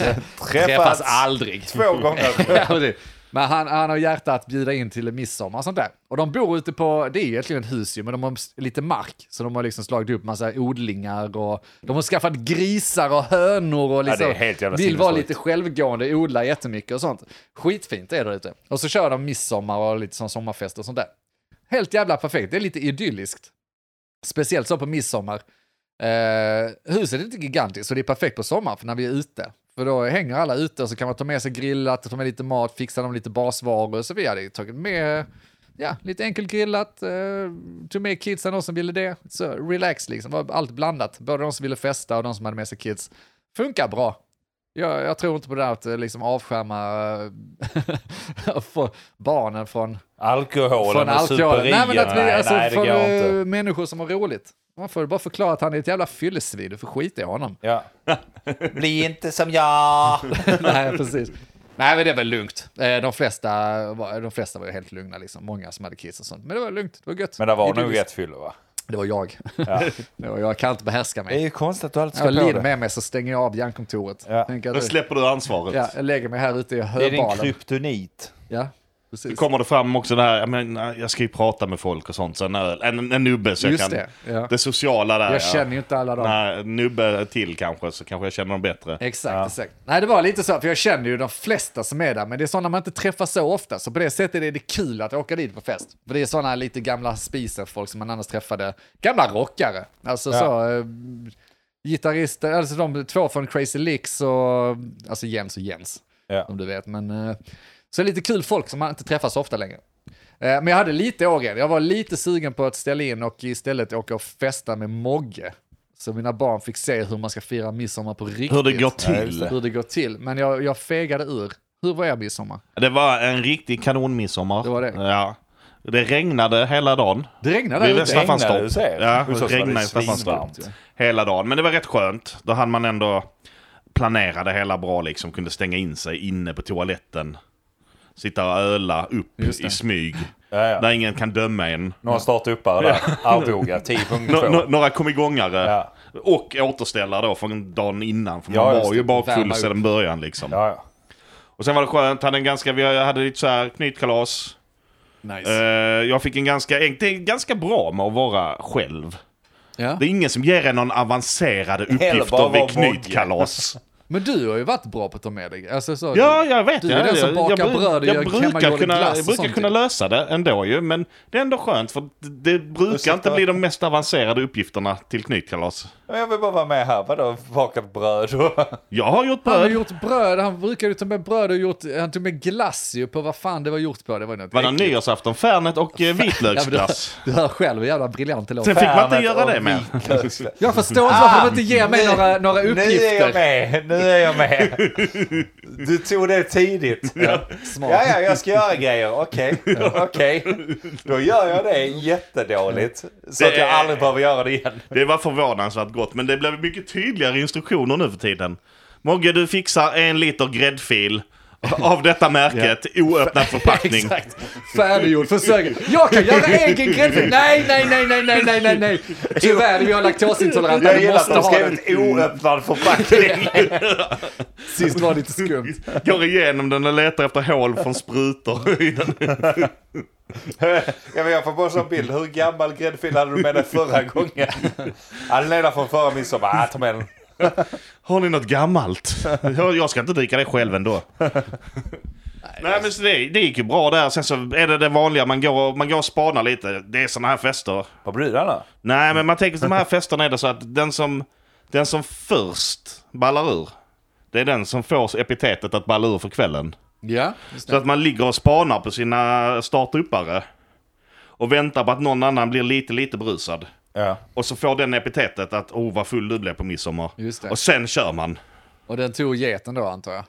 Speaker 3: Träffas aldrig.
Speaker 1: två gånger.
Speaker 3: Ja, precis. Men han, han har hjärta att bjuda in till midsommar och sånt där. Och de bor ute på, det är ju egentligen ett hus ju, men de har s- lite mark. Så de har liksom slagit upp massa odlingar och de har skaffat grisar och hönor och liksom
Speaker 1: det är helt jävla
Speaker 3: vill vara
Speaker 1: sinnessjukt.
Speaker 3: lite självgående, odla jättemycket och sånt. Skitfint är det ute. Och så kör de midsommar och lite sån sommarfest och sånt där. Helt jävla perfekt, det är lite idylliskt. Speciellt så på midsommar. Eh, huset är inte gigantiskt så det är perfekt på sommaren för när vi är ute. För då hänger alla ute och så kan man ta med sig grillat, ta med lite mat, fixa dem lite basvaror. Så vi hade tagit med ja, lite enkelt grillat, eh, tog med kidsen de som ville det. Så relax liksom, var allt blandat. Både de som ville festa och de som hade med sig kids. Funkar bra. Jag, jag tror inte på det där att eh, liksom avskärma eh, få barnen från
Speaker 1: Alkoholen
Speaker 3: från
Speaker 1: och
Speaker 3: alkohol.
Speaker 1: superien.
Speaker 3: Nej, men att vi,
Speaker 1: nej,
Speaker 3: alltså,
Speaker 1: nej, det
Speaker 3: för
Speaker 1: går inte.
Speaker 3: eh, människor som har roligt. Man får bara förklara att han är ett jävla fyllesvin, du får skita i honom.
Speaker 1: Ja. Bli inte som jag.
Speaker 3: Nej, precis. Nej, men det var lugnt. Eh, De flesta var, eh, de flesta var ju helt lugna, liksom. många som hade kids och sånt. Men det var lugnt, det var gött.
Speaker 1: Men det var nog
Speaker 3: Idylliskt.
Speaker 1: ett fyllo va?
Speaker 3: Det var jag. det var, jag kan inte behärska
Speaker 1: Det är
Speaker 3: mig.
Speaker 1: ju konstigt att du alltid ska
Speaker 3: Jag
Speaker 1: på
Speaker 3: lider
Speaker 1: det.
Speaker 3: med mig så stänger jag av hjärnkontoret.
Speaker 1: Ja.
Speaker 3: Tänker
Speaker 2: Då
Speaker 3: att,
Speaker 2: släpper du ansvaret.
Speaker 3: ja, jag lägger mig här ute i
Speaker 1: Det är din
Speaker 3: höbalen.
Speaker 1: kryptonit.
Speaker 3: Ja,
Speaker 2: Då
Speaker 3: precis.
Speaker 2: kommer det fram också det här, jag, menar, jag ska ju prata med folk och sånt, så en, öl- en, en nubbe så jag
Speaker 3: Just
Speaker 2: kan...
Speaker 3: det, ja.
Speaker 2: det sociala där
Speaker 3: Jag känner ju inte alla dem.
Speaker 2: Nej, nubbe till kanske, så kanske jag känner dem bättre.
Speaker 3: Exakt, exakt. Nej, det var lite så, för jag känner ju de flesta som är där, men det är sådana man inte träffar så ofta, så på det sättet är det kul att åka dit på fest. För det är sådana lite gamla spisen folk som man annars träffade, gamla rockare, alltså så, eh, gitarrister, alltså de två från Crazy Licks och, alltså Jens och Jens,
Speaker 1: Ja.
Speaker 3: om du vet, men eh, så är det lite kul folk som man inte träffar så ofta längre. Eh, Men jag hade lite åren, jag var lite sugen på att ställa in och istället åka och festa med Mogge. Så mina barn fick se hur man ska fira midsommar på riktigt
Speaker 2: Hur det går
Speaker 1: Ja, just
Speaker 2: till.
Speaker 1: det.
Speaker 3: hur det går till. Men jag, jag fegade ur. Hur var jag midsommar?
Speaker 2: Det var en riktig kanonmidsommar.
Speaker 3: Det var det.
Speaker 2: Ja. Det regnade hela dagen.
Speaker 3: Det regnade
Speaker 2: Vid
Speaker 3: där ute.
Speaker 1: Regnade, du
Speaker 2: Staffanstorp.
Speaker 1: ser.
Speaker 2: Ja,
Speaker 1: Hos oss var
Speaker 2: det
Speaker 1: det
Speaker 2: regnade i
Speaker 1: svinvarmt,
Speaker 2: Staffanstorp. Hela dagen. Men det var rätt skönt. Då hann man ändå planera det hela bra liksom. Kunde stänga in sig inne på toaletten. Sitta och öla upp
Speaker 3: Just det.
Speaker 2: i smyg.
Speaker 1: Ja, ja.
Speaker 2: Där ingen kan döma en.
Speaker 1: Någon startar upp här där. Arboga
Speaker 2: Nå-
Speaker 1: 10.2.
Speaker 2: nå- några kom igångare.
Speaker 1: Ja.
Speaker 2: Och återställare då från dagen innan. För
Speaker 1: Ja,
Speaker 2: man
Speaker 1: just
Speaker 2: var ju
Speaker 1: det.
Speaker 2: bakfull
Speaker 3: Värma upp.
Speaker 2: sedan början liksom.
Speaker 1: Ja, ja.
Speaker 2: Och sen var det skönt. Hade en ganska, vi hade lite så här knytkalas.
Speaker 3: Nice.
Speaker 2: Eh, jag fick en ganska, en- det är ganska bra med att vara själv.
Speaker 3: Ja.
Speaker 2: Det är ingen som ger en någon avancerade
Speaker 1: bara
Speaker 2: uppgifter
Speaker 1: vara
Speaker 2: vid knytkalas.
Speaker 3: Men du har ju varit bra på att ta med dig. Alltså, så,
Speaker 2: Ja, jag vet.
Speaker 3: Du är
Speaker 2: jag,
Speaker 3: den som
Speaker 2: jag-
Speaker 3: bakar
Speaker 2: jag, bru-
Speaker 3: bröd och
Speaker 2: jag
Speaker 3: gör
Speaker 2: brukar
Speaker 3: hemmagården
Speaker 2: kunna,
Speaker 3: glass och
Speaker 2: Jag brukar
Speaker 3: sånt, typ.
Speaker 2: kunna
Speaker 3: ju.
Speaker 2: lösa det ändå ju, men det är ändå skönt för det, det brukar
Speaker 1: Ursäkta.
Speaker 2: inte bli de mest avancerade uppgifterna till knytkalas.
Speaker 1: Men Jag vill bara vara med här. Vadå bakat bröd?
Speaker 2: Jag har gjort
Speaker 3: Han har
Speaker 2: bröd.
Speaker 3: gjort bröd, han brukar ju ta med bröd och gjort, han tog med glass ju på vad fan det var gjort på. Det var ju något
Speaker 2: Var det
Speaker 3: äckligt.
Speaker 2: nyårsafton, Fernet och eh,
Speaker 3: Ja, men du, hör,
Speaker 2: vitlöksglass.
Speaker 3: du hör själv hur jävla briljant det låter.
Speaker 2: Sen fick man inte
Speaker 1: Fernet
Speaker 2: göra
Speaker 1: och
Speaker 2: det med.
Speaker 1: vitlöksglass.
Speaker 3: Jag förstår inte varför de inte ger mig några, några
Speaker 1: Nu är jag
Speaker 3: uppgifter.
Speaker 1: med, nu är jag med. Du tog det tidigt. Ja,
Speaker 3: Smart.
Speaker 1: ja, jag ska göra grejer. Okej, okej. Då gör jag det jättedåligt. Så att
Speaker 2: Det
Speaker 1: jag
Speaker 2: är-
Speaker 1: aldrig behöver göra det igen.
Speaker 2: Det var förvånansvärt gott, men det blev mycket tydligare instruktioner nu för tiden. Mogge, du fixar en liter gräddfil av detta märket, oöppnad förpackning.
Speaker 3: Exakt. Färdiggjord, försök. Jag kan göra egen gräddfil. Nej, nej, nej, nej, nej, nej, nej, nej. Tyvärr, vi har laktosintoleranta.
Speaker 1: Jag
Speaker 3: Vi
Speaker 1: gillar att
Speaker 3: måste
Speaker 1: de
Speaker 3: ha
Speaker 1: skrev
Speaker 3: den.
Speaker 1: ett oöppnad förpackning.
Speaker 3: Sist var det lite skumt.
Speaker 2: Går igenom den och letar efter hål från sprutor i den.
Speaker 1: ja, men jag får bara en sån bild. Hur gammal gräddfil hade du med dig förra gången? Ja, den är där från förra midsommar. Ah, ta med den.
Speaker 2: Har ni något gammalt? Jag jag ska inte dricka det själv ändå. Nej men så det, det gick ju bra där. Sen så är det det vanliga, man går, man går och spanar lite. Det är sådana här fester.
Speaker 1: På brudarna?
Speaker 2: Nej men man tänker att de här festerna är det så att den som, den som först ballar ur. Det är den som får epitetet att balla ur för kvällen.
Speaker 3: Ja, just
Speaker 2: Så
Speaker 3: det.
Speaker 2: att man ligger och spanar på sina startuppare. Och väntar på att någon annan blir lite, lite brusad.
Speaker 1: Ja.
Speaker 2: Och så får den epitetet att oh vad full du blev på midsommar.
Speaker 3: Just det.
Speaker 2: Och sen kör man.
Speaker 3: Och den tog geten då, antar jag.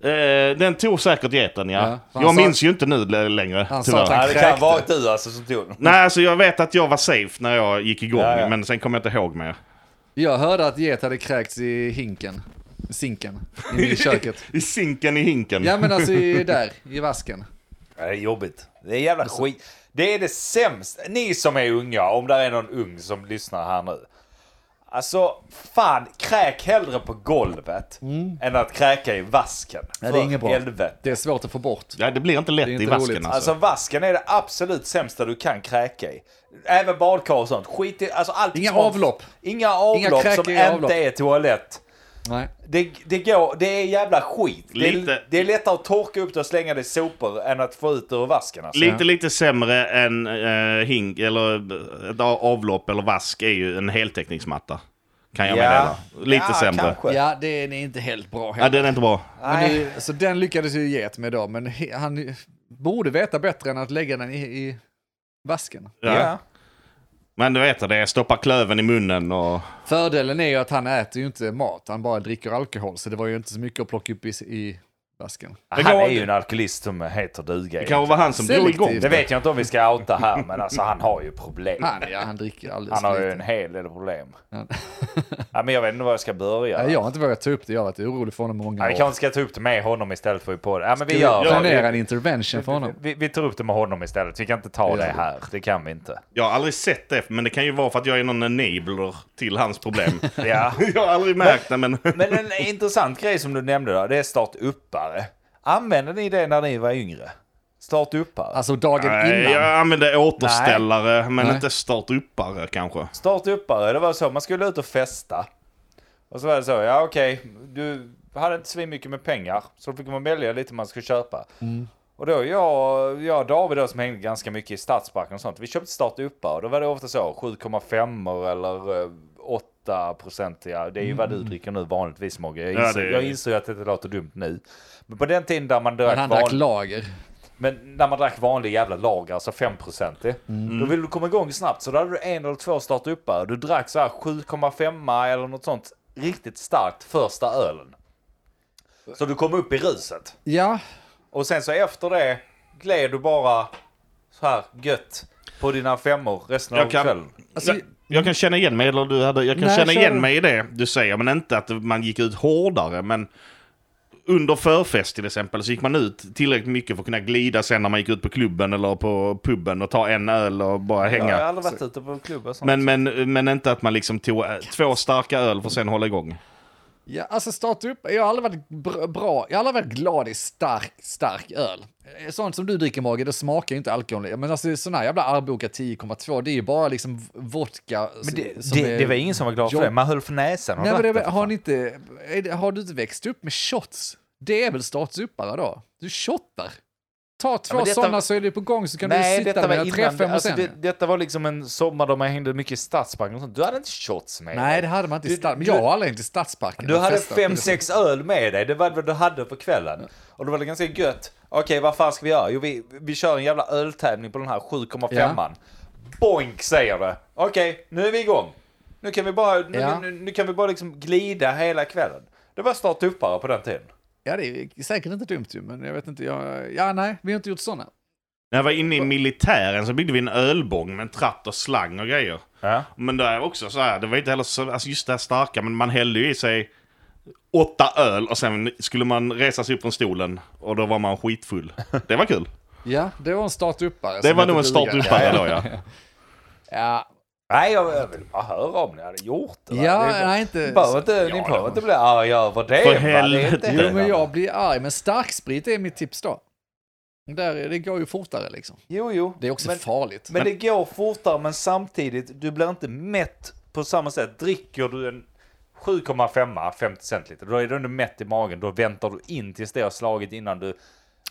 Speaker 2: Eh, den tog säkert geten ja.
Speaker 3: Ja, för han
Speaker 2: jag
Speaker 3: sa-
Speaker 2: minns ju inte nu l- längre
Speaker 3: Han sa
Speaker 2: tyvärr.
Speaker 3: att han-
Speaker 1: Ja, det kan ha varit du alltså som tog den.
Speaker 2: Nej alltså jag vet att jag var safe när jag gick igång.
Speaker 1: Ja, ja.
Speaker 2: Men sen kommer jag inte ihåg mer.
Speaker 3: Jag hörde att get hade kräkts i hinken. Sinken. Inne I köket.
Speaker 2: I sinken i hinken.
Speaker 3: Ja, men alltså i, där, i vasken.
Speaker 1: Ja, det är jobbigt. Det är jävla
Speaker 3: Alltså-
Speaker 1: skit. Det är det sämsta. Ni som är unga, om där är någon ung som lyssnar här nu. Alltså, fan, kräk hellre på golvet än att kräka i vasken.
Speaker 3: Mm. det är
Speaker 1: För
Speaker 3: inget bra.
Speaker 1: Helvete.
Speaker 3: Det är svårt att få bort.
Speaker 2: Ja, det blir inte lätt
Speaker 3: Det är
Speaker 2: i
Speaker 3: inte
Speaker 2: vasken
Speaker 3: roligt.
Speaker 2: alltså.
Speaker 1: Alltså vasken är det absolut sämsta du kan kräka i. Även badkar och sånt. Skit i, alltså allt
Speaker 3: Inga
Speaker 1: som-
Speaker 3: avlopp.
Speaker 1: Inga avlopp
Speaker 3: kräk
Speaker 1: som
Speaker 3: i
Speaker 1: inte
Speaker 3: avlopp.
Speaker 1: är toalett.
Speaker 3: Nej.
Speaker 1: Det, det, går, det är jävla skit. Det,
Speaker 2: Lite.
Speaker 1: är, det är lättare att torka upp det och slänga det i sopor än att få ut det ur vasken. Alltså.
Speaker 2: Lite, lite sämre än eh, hink eller eh, ett avlopp eller vask är ju en heltäckningsmatta. Kan jag meddela. Lite
Speaker 1: ja,
Speaker 2: sämre.
Speaker 1: Kanske.
Speaker 3: Ja, det är inte helt bra.
Speaker 2: Ja, den är inte bra.
Speaker 3: Men
Speaker 1: Nej.
Speaker 3: nu, så den lyckades ju get med då, men he- han borde veta bättre än att lägga den i, i vasken.
Speaker 2: Ja.
Speaker 1: Ja.
Speaker 2: Men du vet, det stoppar klöven i munnen och...
Speaker 3: Fördelen är ju att han äter ju inte mat, han bara dricker alkohol, så det var ju inte så mycket att plocka upp i, i vasken.
Speaker 1: Han är ju en alkoholist som heter duga.
Speaker 2: Det kanske var han som drog
Speaker 3: Selektiv.
Speaker 2: igång.
Speaker 1: Det vet jag inte om vi ska outa här, men alltså han har ju problem.
Speaker 3: Han, ja, han dricker alldeles
Speaker 1: Han har
Speaker 3: för
Speaker 1: ju
Speaker 3: lite.
Speaker 1: en hel del problem.
Speaker 3: Ja.
Speaker 1: Ja, men jag vet inte var jag ska börja.
Speaker 3: Nej, jag har inte vågat ta upp det, jag har varit orolig för honom i många
Speaker 1: Ja, vi
Speaker 3: år.
Speaker 1: kanske ska ta upp det med honom istället för i podden. Ja, men vi
Speaker 3: Jag
Speaker 1: gör
Speaker 3: planerar
Speaker 1: det.
Speaker 3: en intervention för honom.
Speaker 1: Vi, vi tar upp det med honom istället. Vi kan inte ta
Speaker 3: Ja.
Speaker 1: det här. Det kan vi inte.
Speaker 2: Jag har aldrig sett det, men det kan ju vara för att jag är någon enabler till hans problem.
Speaker 1: Ja.
Speaker 2: jag har aldrig märkt det, men...
Speaker 1: Men en intressant grej som du nämnde då, det är startuppare. Använde ni det när ni var yngre? Startuppare?
Speaker 3: Alltså dagen
Speaker 2: Nej,
Speaker 3: innan.
Speaker 2: jag använde återställare, men
Speaker 3: Nej.
Speaker 2: inte startuppare kanske.
Speaker 1: Startuppare, det var så, man skulle ut och festa. Och så var det så, ja okej, du hade inte så mycket med pengar. Så då fick man välja lite man skulle köpa.
Speaker 3: Mm.
Speaker 1: Och då jag, jag och David då som hängde ganska mycket i Stadsparken och sånt, vi köpte startuppare. Då var det ofta så 7,5 eller eh, 8 procentiga. Det är ju vad
Speaker 3: Mm.
Speaker 1: du dricker nu vanligtvis Mogge. Jag,
Speaker 2: Ja,
Speaker 1: inser-
Speaker 2: det är-
Speaker 1: jag inser ju att det låter dumt nu. Men på den tiden där man
Speaker 3: Men
Speaker 1: drack,
Speaker 3: han drack
Speaker 1: van...
Speaker 3: lager.
Speaker 1: Men när man drack vanlig jävla lager, alltså 5% mm. Då ville du komma igång snabbt, så då hade du en eller två startuppar. Du drack så här 7,5 eller något sånt riktigt starkt första ölen. Så du kom upp i ruset.
Speaker 3: Ja,
Speaker 1: Och sen så efter det gled du bara så här gött på dina femmor resten av
Speaker 2: Jag kan-
Speaker 1: kvällen.
Speaker 3: alltså,
Speaker 2: jag, jag kan känna igen mig, eller du hade, jag kan
Speaker 3: Nej,
Speaker 2: känna
Speaker 3: kör
Speaker 2: igen
Speaker 3: du.
Speaker 2: mig i det du säger, men inte att man gick ut hårdare. Men under förfest till exempel så gick man ut tillräckligt mycket för att kunna glida sen när man gick ut på klubben eller på puben och ta en öl och bara
Speaker 1: Jag
Speaker 2: hänga.
Speaker 1: har aldrig varit ute på klubbar och sånt.
Speaker 2: men, men, men inte att man liksom tog eh, två starka öl för att sen hålla igång.
Speaker 3: Ja, alltså starta upp. Jag har aldrig varit br- bra. Jag har aldrig varit glad i stark, stark öl. Eh, Sånt som du dricker Morgan, det smakar ju inte alkohol. Men alltså sån här jävla Arboga 10,2, det är ju bara liksom v- vodka.
Speaker 1: Men det,
Speaker 3: som
Speaker 1: det,
Speaker 3: är-
Speaker 1: det var ingen som var glad för
Speaker 3: jobb-
Speaker 1: det. Man höll för näsan.
Speaker 3: Nej, men det,
Speaker 1: vatten,
Speaker 3: är-
Speaker 1: för
Speaker 3: har,
Speaker 1: fan.
Speaker 3: ni inte, är det- har du inte växt upp med shots? Det är väl startsuppare då? Du shottar. Ta två
Speaker 1: men detta-
Speaker 3: sådana så är det på gång så kan
Speaker 1: Nej,
Speaker 3: du sitta
Speaker 1: detta var
Speaker 3: med tre,
Speaker 1: innan.
Speaker 3: fem och
Speaker 1: Alltså,
Speaker 3: sen.
Speaker 1: det, detta var liksom en sommar då man hängde mycket i Stadsparken och sånt. Du hade inte shots med
Speaker 3: Nej, det
Speaker 1: dig.
Speaker 3: hade man inte i
Speaker 1: Du-
Speaker 3: Stadsparken. Men
Speaker 1: du-
Speaker 3: jag har aldrig hängt i Stadsparken.
Speaker 1: Du
Speaker 3: och
Speaker 1: hade
Speaker 3: festat.
Speaker 1: fem, sex öl med dig. Det var vad du hade på kvällen. Och då var det ganska gött. Okej, vad fan ska vi göra? Jo, vi, vi kör en jävla öltävling på den här 7,5an. Boink säger det. Okej, nu är vi igång. Nu kan vi bara, nu,
Speaker 3: Ja.
Speaker 1: nu, nu kan vi bara liksom glida hela kvällen. Det var startuppare på den tiden.
Speaker 3: Ja, det är säkert inte dumt ju, men jag vet inte. Jag, ja, nej, vi har inte gjort sådana.
Speaker 2: När jag var inne i militären så byggde vi en ölbång med en tratt och slang och grejer.
Speaker 1: Ja.
Speaker 2: Men det är också så här, det var inte heller så, alltså just det här starka, men man hällde ju i sig åtta öl och sen skulle man resa sig upp från stolen och då var man skitfull. Det var kul.
Speaker 3: Ja, det var en startuppare.
Speaker 2: Det
Speaker 3: som
Speaker 2: var
Speaker 3: hette
Speaker 2: nog en
Speaker 3: duga.
Speaker 2: startuppare då ja.
Speaker 3: Ja,
Speaker 1: Nej, jag, jag vill bara höra om ni hade gjort det. va?
Speaker 3: ja
Speaker 1: Det är-
Speaker 3: nej, inte...
Speaker 1: Ni behöver inte, ni behöver inte bli arga över det.
Speaker 2: För
Speaker 1: va? Det är
Speaker 2: helvete.
Speaker 1: inte-
Speaker 2: Jo,
Speaker 3: Jo, men jag blir arg. Men starksprit är mitt tips då. Där, det går ju fortare liksom.
Speaker 1: Jo, jo.
Speaker 3: Det är också
Speaker 1: men,
Speaker 3: farligt.
Speaker 1: men det går fortare, men samtidigt, du blir inte mätt på samma sätt. Dricker du en 7,5 50 centiliter, då är du ändå mätt i magen. Då väntar du in tills det har slagit innan du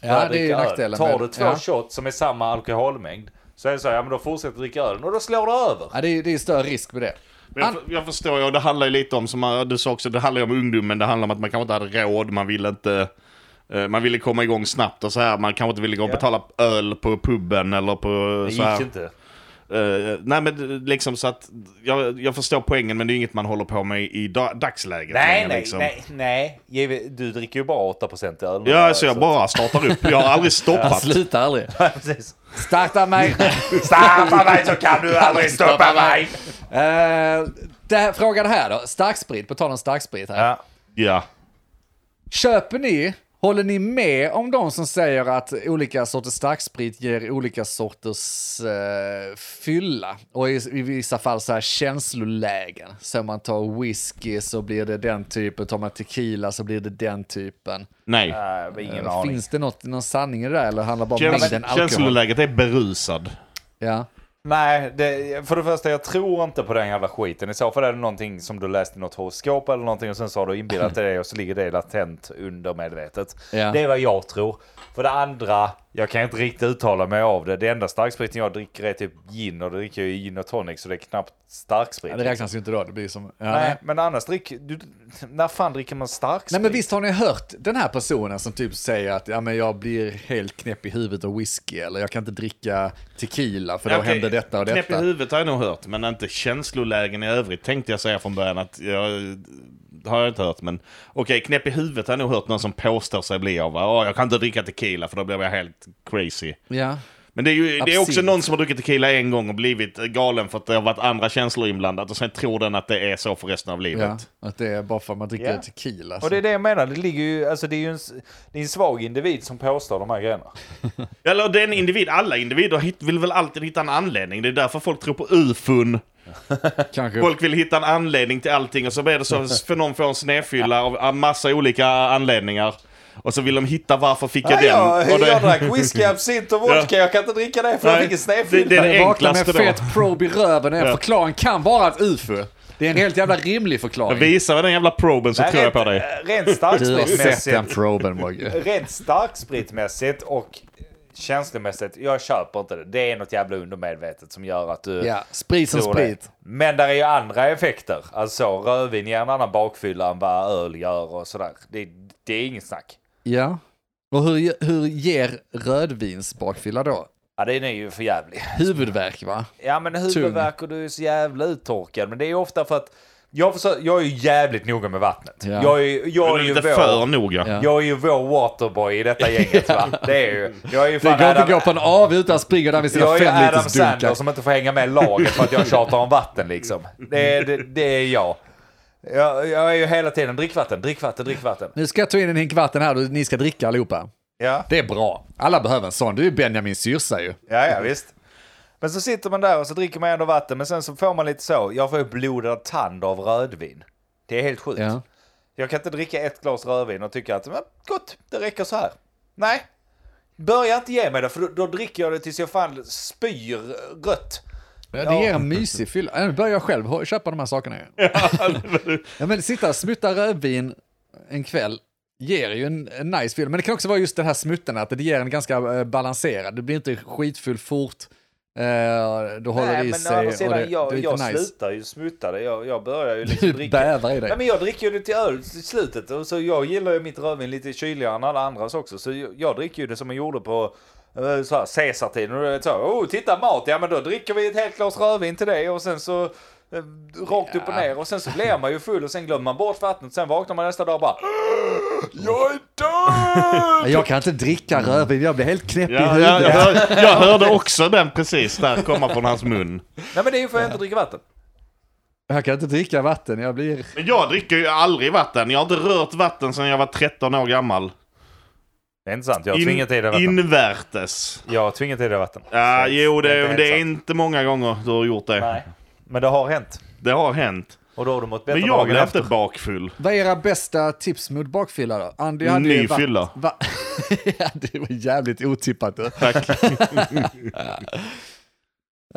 Speaker 3: ja,
Speaker 1: börjar
Speaker 3: det är ju
Speaker 1: dricka öl.
Speaker 3: nackdelen.
Speaker 1: Tar
Speaker 3: med-
Speaker 1: du två
Speaker 3: ja.
Speaker 1: shot som är samma alkoholmängd, så är det så, ja men då fortsätter du dricka ölen och då slår det över.
Speaker 3: Ja, det är, det är större risk med det.
Speaker 2: Men jag, för- jag förstår ju, och det handlar ju lite om, som du sa också, det handlar ju om ungdomen, det handlar om att man kanske inte hade råd, man ville inte... eh, Man ville komma igång snabbt och så här, man kanske inte ville gå och
Speaker 1: Ja.
Speaker 2: betala öl på puben eller på
Speaker 1: Det
Speaker 2: så här.
Speaker 1: gick inte.
Speaker 2: Eh, nej men liksom så att, jag, jag förstår poängen men det är inget man håller på med i da- dagsläget.
Speaker 1: Nej,
Speaker 2: längre,
Speaker 1: nej,
Speaker 2: liksom.
Speaker 1: nej, nej. Giv- Du dricker ju bara 8% öl.
Speaker 2: Ja, alltså jag bara startar upp. Jag har aldrig
Speaker 3: Jag
Speaker 2: stoppat.
Speaker 3: slutar aldrig.
Speaker 1: Precis.
Speaker 3: Starta mig.
Speaker 1: Straffa mig så kan du aldrig stoppa mig!
Speaker 3: Eh, det här, frågan här då. Starksprit, på tal om starksprit här.
Speaker 1: Ja.
Speaker 2: Ja.
Speaker 3: Köper ni, håller ni med om de som säger att olika sorters starksprit ger olika sorters eh, fylla? Och i, i vissa fall så här känslolägen. Så man tar whisky så blir det den typen, tar man tequila så blir det den typen.
Speaker 2: Nej.
Speaker 1: Nej, vi har ingen
Speaker 3: Eh,
Speaker 1: aning.
Speaker 3: Finns det något, någon sanning i det där eller handlar bara om
Speaker 2: Käns-
Speaker 3: mängden alkohol?
Speaker 2: känsloläget är berusad.
Speaker 3: Ja.
Speaker 1: Nej, det, för det första, jag tror inte på den jävla skiten. I så fall är det någonting som du läste i något horoskop eller någonting och sen så har du inbillat dig det och så ligger det latent under medvetet.
Speaker 3: Ja.
Speaker 1: Det är vad jag tror. För det andra, jag kan inte riktigt uttala mig av det. Det enda starkspriten jag dricker är typ gin och då dricker jag ju gin och tonic så det är knappt starksprit.
Speaker 3: ja, det räknas ju inte då. Det blir som... Ja,
Speaker 1: Nej, men annars dricker du... När fan dricker man starksprit?
Speaker 3: Nej men visst har ni hört den här personen som typ säger att ja, men jag blir helt knäpp i huvudet av whisky eller jag kan inte dricka tequila för då
Speaker 2: Okej,
Speaker 3: händer detta och
Speaker 2: Knäpp i
Speaker 3: detta.
Speaker 2: huvudet har jag nog hört, men inte känslolägen i övrigt tänkte jag säga från början att jag... det Har jag inte hört, men okej, knäpp i huvudet har jag nog hört någon som påstår sig bli av. va? Åh, jag kan inte dricka tequila för då blir jag helt crazy.
Speaker 3: Ja.
Speaker 2: Men det är ju det är också
Speaker 3: Absint.
Speaker 2: någon som har druckit tequila en gång och blivit galen för att det har varit andra känslor inblandat och sen tror den att det är så för resten av livet.
Speaker 3: ja, att det är bara för att man dricker
Speaker 1: Ja.
Speaker 3: tequila.
Speaker 1: Och det är det jag menar, det ligger ju... Alltså det är ju en, s- det är en svag individ som påstår de här grejerna.
Speaker 2: Eller det är en individ, alla individer hit- vill väl alltid hitta en anledning. Det är därför folk tror på ufon.
Speaker 3: Kanske.
Speaker 2: Folk vill hitta en anledning till allting och så blir det så för någon får en snedfylla av av massa olika anledningar. Och så vill de hitta varför fick jag
Speaker 1: Ja,
Speaker 2: den? och
Speaker 1: jag,
Speaker 2: det-
Speaker 1: jag drack whisky, absint och vodka. Jag kan inte dricka det för jag
Speaker 2: Nej,
Speaker 1: fick en snedfylla.
Speaker 2: det är
Speaker 3: jag vaknar med
Speaker 2: enklaste då.
Speaker 3: fet probe i röven är förklaring kan vara ett ufo. Det är en helt jävla rimlig förklaring.
Speaker 2: Visa den jävla proben så
Speaker 1: Nej,
Speaker 2: tror jag
Speaker 1: rent-
Speaker 2: på dig.
Speaker 1: eh, Rent
Speaker 3: Du har sett den
Speaker 1: starkspritmässigt.
Speaker 3: proben Mogge.
Speaker 1: Rent starkspritmässigt och känslomässigt, jag köper inte det. Det är något jävla undermedvetet som gör att du...
Speaker 3: Ja, sprit som
Speaker 1: tror det.
Speaker 3: sprit.
Speaker 1: Men där är ju andra effekter. Alltså rödvin ger en annan bakfylla än vad öl gör och sådär. Det, det är inget snack.
Speaker 3: Ja. Och hur, hur ger rödvinsbakfylla då?
Speaker 1: Ja, den är ju för jävlig.
Speaker 3: Huvudvärk va?
Speaker 1: Ja men huvudvärk och du är så jävla uttorkad. Men det är ju ofta för att jag, försöker, jag är ju jävligt noga med vattnet.
Speaker 3: Ja.
Speaker 1: Jag är, jag
Speaker 2: Du
Speaker 1: är
Speaker 2: är
Speaker 1: ju
Speaker 2: lite
Speaker 1: vår,
Speaker 2: för noga.
Speaker 3: Ja.
Speaker 1: jag är ju vår waterboy i detta gänget va. Det är ju, jag är ju
Speaker 3: Det går
Speaker 1: fan
Speaker 3: inte att gå
Speaker 1: Adam,
Speaker 3: på en AW utan springer där med sina
Speaker 1: jag är ju
Speaker 3: fem
Speaker 1: Adam
Speaker 3: liters
Speaker 1: Sandler
Speaker 3: dunkar.
Speaker 1: som inte får hänga med i laget för att jag tjatar om vatten liksom. Det, är- det, det är jag. jag. Jag är ju hela tiden drickvatten, drickvatten, drickvatten.
Speaker 3: Nu ska jag ta in en hink vatten här och ni ska dricka allihopa.
Speaker 1: Ja.
Speaker 3: Det är bra. Alla behöver en sån. Du är ju Benjamins syrsa ju.
Speaker 1: Ja, ja, visst. Men så sitter man där och så dricker man ändå vatten, men sen så får man lite så. Jag får ju blodad tand av rödvin. Det är helt sjukt.
Speaker 3: Ja.
Speaker 1: Jag kan inte dricka ett glas rödvin och tycka att men, gott, det räcker så här. Nej, börja inte ge mig det för då, då dricker jag det tills jag fan spyr rött.
Speaker 3: Det ger en mysig fylla. Nu börjar jag själv hå- köpa de här sakerna ju. Ja, men sitta och smutta rödvin en kväll ger ju en, en nice fylla. Men det kan också vara just den här smutten, att det ger en ganska eh, balanserad. Du blir inte skitfull fort. eh, Du håller
Speaker 1: Nej,
Speaker 3: i
Speaker 1: men å
Speaker 3: sig
Speaker 1: andra
Speaker 3: och
Speaker 1: sidan,
Speaker 3: det,
Speaker 1: jag,
Speaker 3: det är
Speaker 1: jag
Speaker 3: lite nice.
Speaker 1: slutar ju smutta det. Jag, jag börjar ju liksom
Speaker 3: Du
Speaker 1: dricka.
Speaker 3: bävar i dig.
Speaker 1: Nej, men jag dricker ju det till öl i slutet. Och så jag gillar ju mitt rödvin lite kyligare än alla andras också. Så jag, jag dricker ju det som man gjorde på eh, så här, Caesartiden. Och det är så, oh, titta mat! Ja, men då dricker vi ett helt glas rödvin till det och sen så eh, rakt upp och ner. Och sen så blir man ju full och sen glömmer man bort vattnet. Sen vaknar man nästa dag och bara... Jag är död!
Speaker 3: Ja, Jag kan inte dricka rödvin, jag blir helt knäpp i
Speaker 2: Ja,
Speaker 3: huvudet.
Speaker 2: jag, jag, hör, jag hörde också den precis där komma från hans mun.
Speaker 1: Nej, men det är ju för att jag inte dricker vatten.
Speaker 3: Jag kan inte dricka vatten, jag blir...
Speaker 2: Men jag dricker ju aldrig vatten. Jag har inte rört vatten sedan jag var 13 år gammal.
Speaker 1: Det är inte sant. Jag har tvingat i dig vatten.
Speaker 2: invärtes.
Speaker 1: Jag har tvingat i dig vatten.
Speaker 2: Ja,
Speaker 1: Så
Speaker 2: jo, det,
Speaker 1: helt
Speaker 2: det är
Speaker 1: sant.
Speaker 2: inte många gånger du har gjort det.
Speaker 1: Nej. Men det har hänt.
Speaker 2: Det har hänt.
Speaker 1: Och då har du mått bättre
Speaker 2: Men jag
Speaker 1: dagen
Speaker 2: blev
Speaker 1: efter.
Speaker 2: inte bakfull.
Speaker 3: Vad är era bästa tips mot bakfylla då? Andy hade ju
Speaker 2: Ny
Speaker 3: varit-
Speaker 2: fylla.
Speaker 3: Va? ja, det var jävligt otippat. du.
Speaker 2: Tack.
Speaker 3: Ja,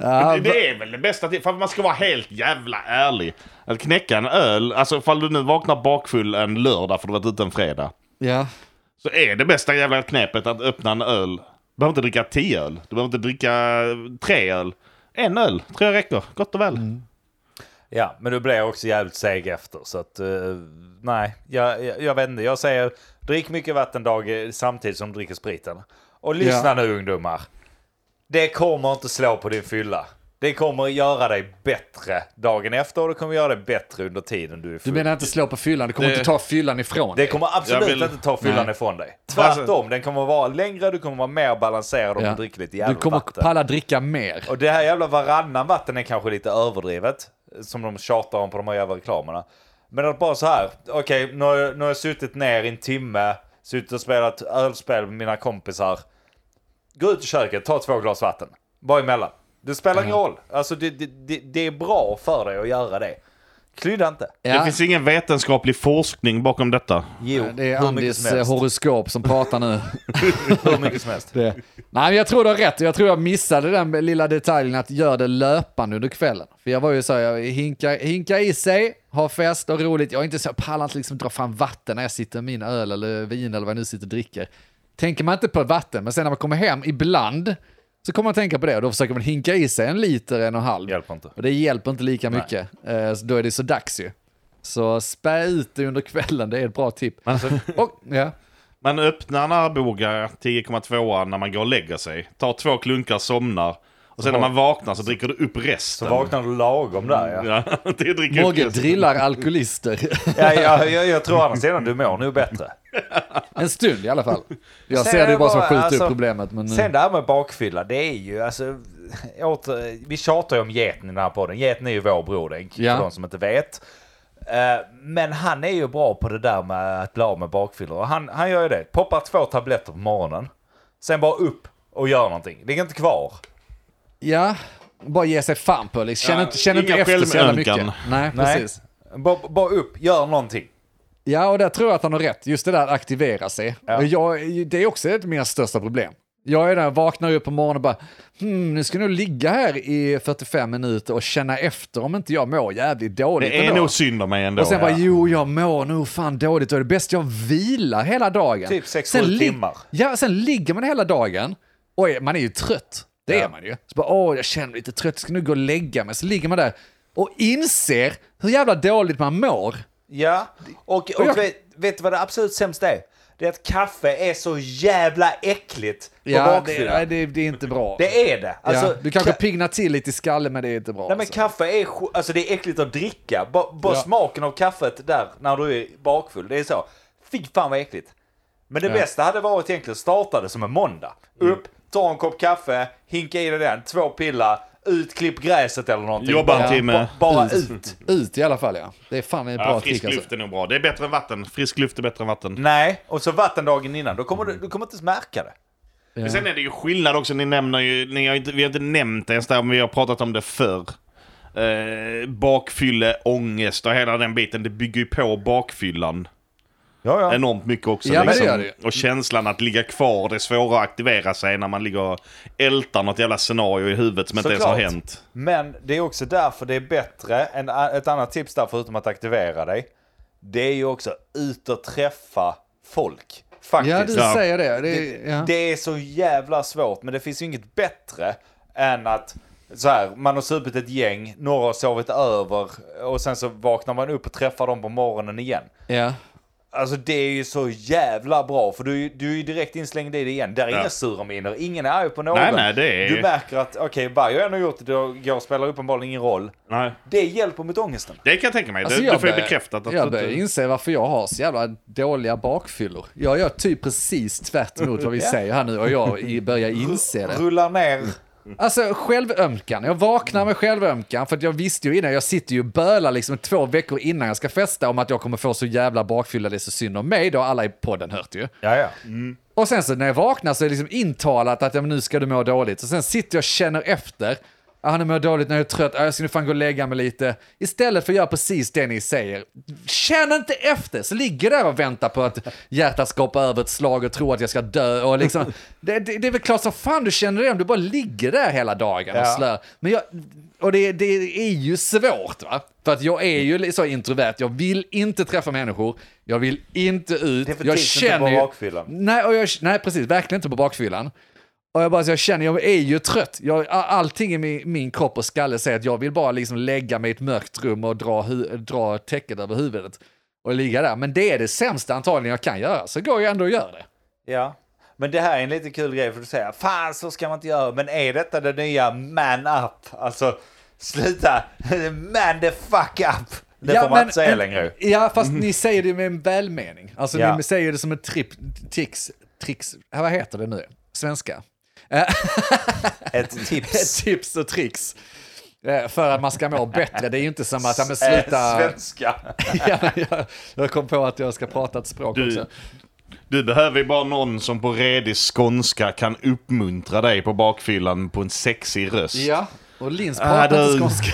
Speaker 1: Alltså-
Speaker 2: Det, det är väl det bästa till, för man ska vara helt jävla ärlig. Att knäcka en öl, alltså ifall du nu vaknar bakfull en lördag för du har varit ute en fredag.
Speaker 3: ja.
Speaker 2: Så är det bästa jävla knepet att öppna en öl. Du behöver inte dricka tio öl. Du behöver inte dricka tre öl. En öl tror jag räcker, gott och väl.
Speaker 1: Ja, men du blev också jävligt seg efter. Så att, eh, nej, jag, jag, jag vet inte. Jag säger drick mycket vatten dag eh, samtidigt som du dricker spriten. Och lyssna
Speaker 3: Ja.
Speaker 1: nu ungdomar. Det kommer inte slå på din fylla. Det kommer göra dig bättre dagen efter och det kommer göra dig bättre under tiden du är
Speaker 3: Du
Speaker 1: full.
Speaker 3: menar inte slå på fyllan, du kommer
Speaker 2: Det-
Speaker 3: inte ta fyllan ifrån
Speaker 1: Det
Speaker 3: dig.
Speaker 1: kommer absolut
Speaker 2: Jag vill- Alltså-
Speaker 1: inte ta fyllan
Speaker 3: Nej.
Speaker 1: ifrån dig. Tvärtom, den kommer vara längre, du kommer vara mer balanserad om
Speaker 3: Ja.
Speaker 1: du dricker lite
Speaker 3: Du
Speaker 1: jävla
Speaker 3: kommer
Speaker 1: vatten.
Speaker 3: palla dricka mer.
Speaker 1: Och det här jävla varannan vatten är kanske lite överdrivet. Som de tjatar om på de här jävla reklamerna. Men att bara så här. Okej, nu, har jag- nu har jag suttit ner i en timme. Suttit och spelat ölspel med mina kompisar. Gå ut i köket, ta två glas vatten. Bara emellan. Det spelar ingen roll. Alltså det, det, det, det är bra för dig att göra det. Klydda inte.
Speaker 2: Det
Speaker 3: Ja.
Speaker 2: finns ingen vetenskaplig forskning bakom detta.
Speaker 1: Jo,
Speaker 3: Det är
Speaker 1: hur mycket
Speaker 3: Andys
Speaker 1: som
Speaker 3: eh,
Speaker 1: helst.
Speaker 3: horoskop som pratar nu.
Speaker 1: Hur mycket som helst.
Speaker 3: Det. Nej, men jag tror du har rätt. Jag tror jag missade den lilla detaljen att göra det löpande under kvällen. För jag var ju så här, jag hinkar, hinkar i sig, har fest och roligt. Jag är inte så, jag pallar inte liksom dra fram vatten när jag sitter med min öl eller vin eller vad jag nu sitter och dricker. Tänker man inte på vatten, men sen när man kommer hem ibland så kommer man tänka på det och då försöker man hinka i sig en liter, en och en halv.
Speaker 1: Hjälper inte.
Speaker 3: Och det hjälper inte lika mycket. Eh, så Då är det så dags ju. Så spä ut det under kvällen, det är ett bra tipp. Och, ja.
Speaker 2: Man öppnar en Arboga 10,2 när man går och lägger sig. Tar två klunkar, somnar. Och sen när man vaknar så dricker du upp resten.
Speaker 1: Så vaknar du lagom där ja.
Speaker 2: Ja, det dricker upp
Speaker 3: Mogge
Speaker 2: resten.
Speaker 3: drillar alkoholister.
Speaker 1: ja jag, jag, jag tror å andra sidan du mår nog bättre.
Speaker 3: En stund i alla fall. Jag
Speaker 1: Sen
Speaker 3: ser det
Speaker 1: är
Speaker 3: ju bara som
Speaker 1: bara,
Speaker 3: skjuter
Speaker 1: alltså,
Speaker 3: upp problemet. Men,
Speaker 1: Sen det här med bakfylla, det är ju alltså... Åter, vi tjatar ju om geten i den här podden. Geten är ju vår broder,
Speaker 3: Ja.
Speaker 1: för de som inte vet. Eh, Men han är ju bra på det där med att bli av med bakfyllor. Och Han, han gör ju det. Poppar två tabletter på morgonen. Sen bara upp och gör någonting. Ligger inte kvar.
Speaker 3: ja, bara ge sig fan på det. Känn
Speaker 2: Ja,
Speaker 3: inte, känn inte
Speaker 2: inga
Speaker 3: efter så jävla
Speaker 2: självömkan.
Speaker 3: mycket. Nej, precis.
Speaker 1: Bara, bara upp, gör någonting.
Speaker 3: Ja, och där tror jag att han har rätt. Just det där att aktivera sig. Och Jag, det är också ett av mina största problem. Jag är där, vaknar upp på morgonen och bara, hmm, nu ska jag nog ligga här i 45 minuter och känna efter om inte jag mår jävligt dåligt
Speaker 2: Det är
Speaker 3: ändå.
Speaker 2: nog synd om mig ändå.
Speaker 3: Och sen bara, jo jag mår nog fan dåligt, då är det bäst jag vilar hela dagen.
Speaker 1: Typ sex,
Speaker 3: Sen
Speaker 1: sju
Speaker 3: lig-
Speaker 1: timmar.
Speaker 3: Ja, sen ligger man hela dagen och är, man är ju trött. Det är man ju. Så bara, åh jag känner mig lite trött, jag ska nu gå och lägga mig. Så ligger man där och inser hur jävla dåligt man mår.
Speaker 1: Ja, och, och
Speaker 3: jag-
Speaker 1: vet, vet du vad det absolut sämsta är? Det är att kaffe är så jävla äckligt på
Speaker 3: Ja, det,
Speaker 1: bakfylla.
Speaker 3: nej, det, det är inte bra.
Speaker 1: Det är det. Alltså,
Speaker 3: ja, du kanske
Speaker 1: ka-
Speaker 3: pignar till lite i skallen men det är inte bra.
Speaker 1: Nej men
Speaker 3: alltså.
Speaker 1: kaffe är sj- alltså det är äckligt att dricka. Ba- Bara
Speaker 3: Ja.
Speaker 1: smaken av kaffet där när du är bakfull. Det är så. Fy fan vad äckligt. Men det bästa hade varit egentligen att starta det som en måndag. Upp, ta en kopp kaffe, hinka i dig den, två pillar, ut, klipp gräset eller någonting.
Speaker 2: Jobba en
Speaker 1: Bara-
Speaker 2: timme.
Speaker 1: ba- Bara
Speaker 3: Ut.
Speaker 1: ut.
Speaker 3: Ut i alla fall ja. Det är fan en bra
Speaker 2: ja,
Speaker 3: trick
Speaker 2: frisk
Speaker 3: alltså.
Speaker 2: luft är nog bra. Det är bättre än vatten. Frisk luft är bättre än vatten.
Speaker 1: Nej, och så vatten dagen innan. Då kommer du, du kommer inte ens märka det.
Speaker 2: Men sen är det ju skillnad också. Ni nämner ju, ni har inte, vi har inte nämnt det ens där, men vi har pratat om det förr. Eh, bakfylle, ångest och hela den biten. Det bygger ju på bakfyllan.
Speaker 1: Ja, ja.
Speaker 2: enormt mycket också.
Speaker 3: Ja, men det
Speaker 2: liksom.
Speaker 3: gör det ju.
Speaker 2: Och känslan att ligga kvar, det är svårare att aktivera sig när man ligger och ältar något jävla scenario i huvudet som inte ens har
Speaker 1: Såklart.
Speaker 2: hänt.
Speaker 1: Men det är också därför det är bättre, en, ett annat tips där förutom att aktivera dig, det är ju också ut och träffa folk.
Speaker 3: Ja, du
Speaker 1: Faktiskt.
Speaker 2: Ja.
Speaker 3: säger det. det, är- ja.
Speaker 1: Det är så jävla svårt, men det finns ju inget bättre än att så här, man har supit ett gäng, några har sovit över och sen så vaknar man upp och träffar dem på morgonen igen.
Speaker 3: ja.
Speaker 1: Alltså det är ju så jävla bra för du, är ju- du är ju direkt inslängd i det igen. Där är
Speaker 2: Ja.
Speaker 1: inga sura miner, ingen är arg på någon.
Speaker 2: Nej, nej, det är-
Speaker 1: Du märker att okej, vad jag än har gjort då jag spelar uppenbarligen ingen roll.
Speaker 2: Nej.
Speaker 1: Det hjälper mot ångesten.
Speaker 2: Det kan jag tänka mig.
Speaker 3: Alltså,
Speaker 2: det,
Speaker 3: jag
Speaker 2: du får ju
Speaker 3: börjar-
Speaker 2: bekräftat att...
Speaker 3: Jag börjar inse varför jag har så jävla dåliga bakfyllor. Jag gör typ precis tvärt emot vad vi säger här nu och jag i- börjar inse det.
Speaker 1: Rullar ner
Speaker 3: Alltså självömkan. Jag vaknar med självömkan för att jag visste ju innan, jag sitter ju och bölar liksom två veckor innan jag ska festa om att jag kommer få så jävla bakfylla, det är så synd om mig. Det har alla i podden hört ju.
Speaker 1: Ja, ja.
Speaker 3: Och sen så när jag vaknar så är det liksom intalat att ja, men nu ska du må dåligt. Och sen sitter jag och känner efter. Ja, nu mår jag dåligt när jag är trött. Ja, jag ska nu fan gå och lägga mig lite. Istället för att göra precis det ni säger. Känn inte efter! Så ligger jag där och väntar på att hjärtat ska hoppa över ett slag och tror att jag ska dö. Och liksom, det, det, det är väl klart som fan du känner det om du bara ligger där hela dagen och
Speaker 1: Ja.
Speaker 3: slör. Men jag, och det, det är ju svårt va? För att jag är ju li- så introvert. Jag vill inte träffa människor. Jag vill inte ut.
Speaker 1: Det är för tidigt
Speaker 3: Jag
Speaker 1: att inte
Speaker 3: känner
Speaker 1: vara
Speaker 3: ju...
Speaker 1: bakfyllan.
Speaker 3: Nej, och jag, nej, precis. Verkligen inte på bakfyllan. Och jag, bara, så jag känner, jag är ju trött. Jag, allting i min, min kropp och skalle säger att jag vill bara liksom lägga mig i ett mörkt rum och dra, hu, dra täcket över huvudet och ligga där. Men det är det sämsta antagligen jag kan göra, så går jag ändå och gör det.
Speaker 1: Ja. Men det här är en lite kul grej för du säger fan så ska man inte göra. Men är detta det nya man up? Alltså sluta man the fuck up. Det får man inte säga längre. Mm.
Speaker 3: Ja, fast ni säger det med en välmening. Alltså
Speaker 1: Ja.
Speaker 3: ni säger det som ett trip, tricks, tricks, äh, vad heter det nu? Svenska?
Speaker 1: Ett tips.
Speaker 3: Tips och tricks. Eh, För att man ska må bättre. Det är ju inte som att, ja men
Speaker 1: Eh,
Speaker 3: sluta.
Speaker 1: Svenska.
Speaker 3: ja, men jag, jag kom på att jag ska prata ett språk
Speaker 2: Du,
Speaker 3: också.
Speaker 2: du behöver ju bara någon som på redig skånska kan uppmuntra dig på bakfyllan på en sexig röst.
Speaker 3: Ja, och Lins
Speaker 2: Ah,
Speaker 3: pratar inte
Speaker 2: du.
Speaker 3: skånska.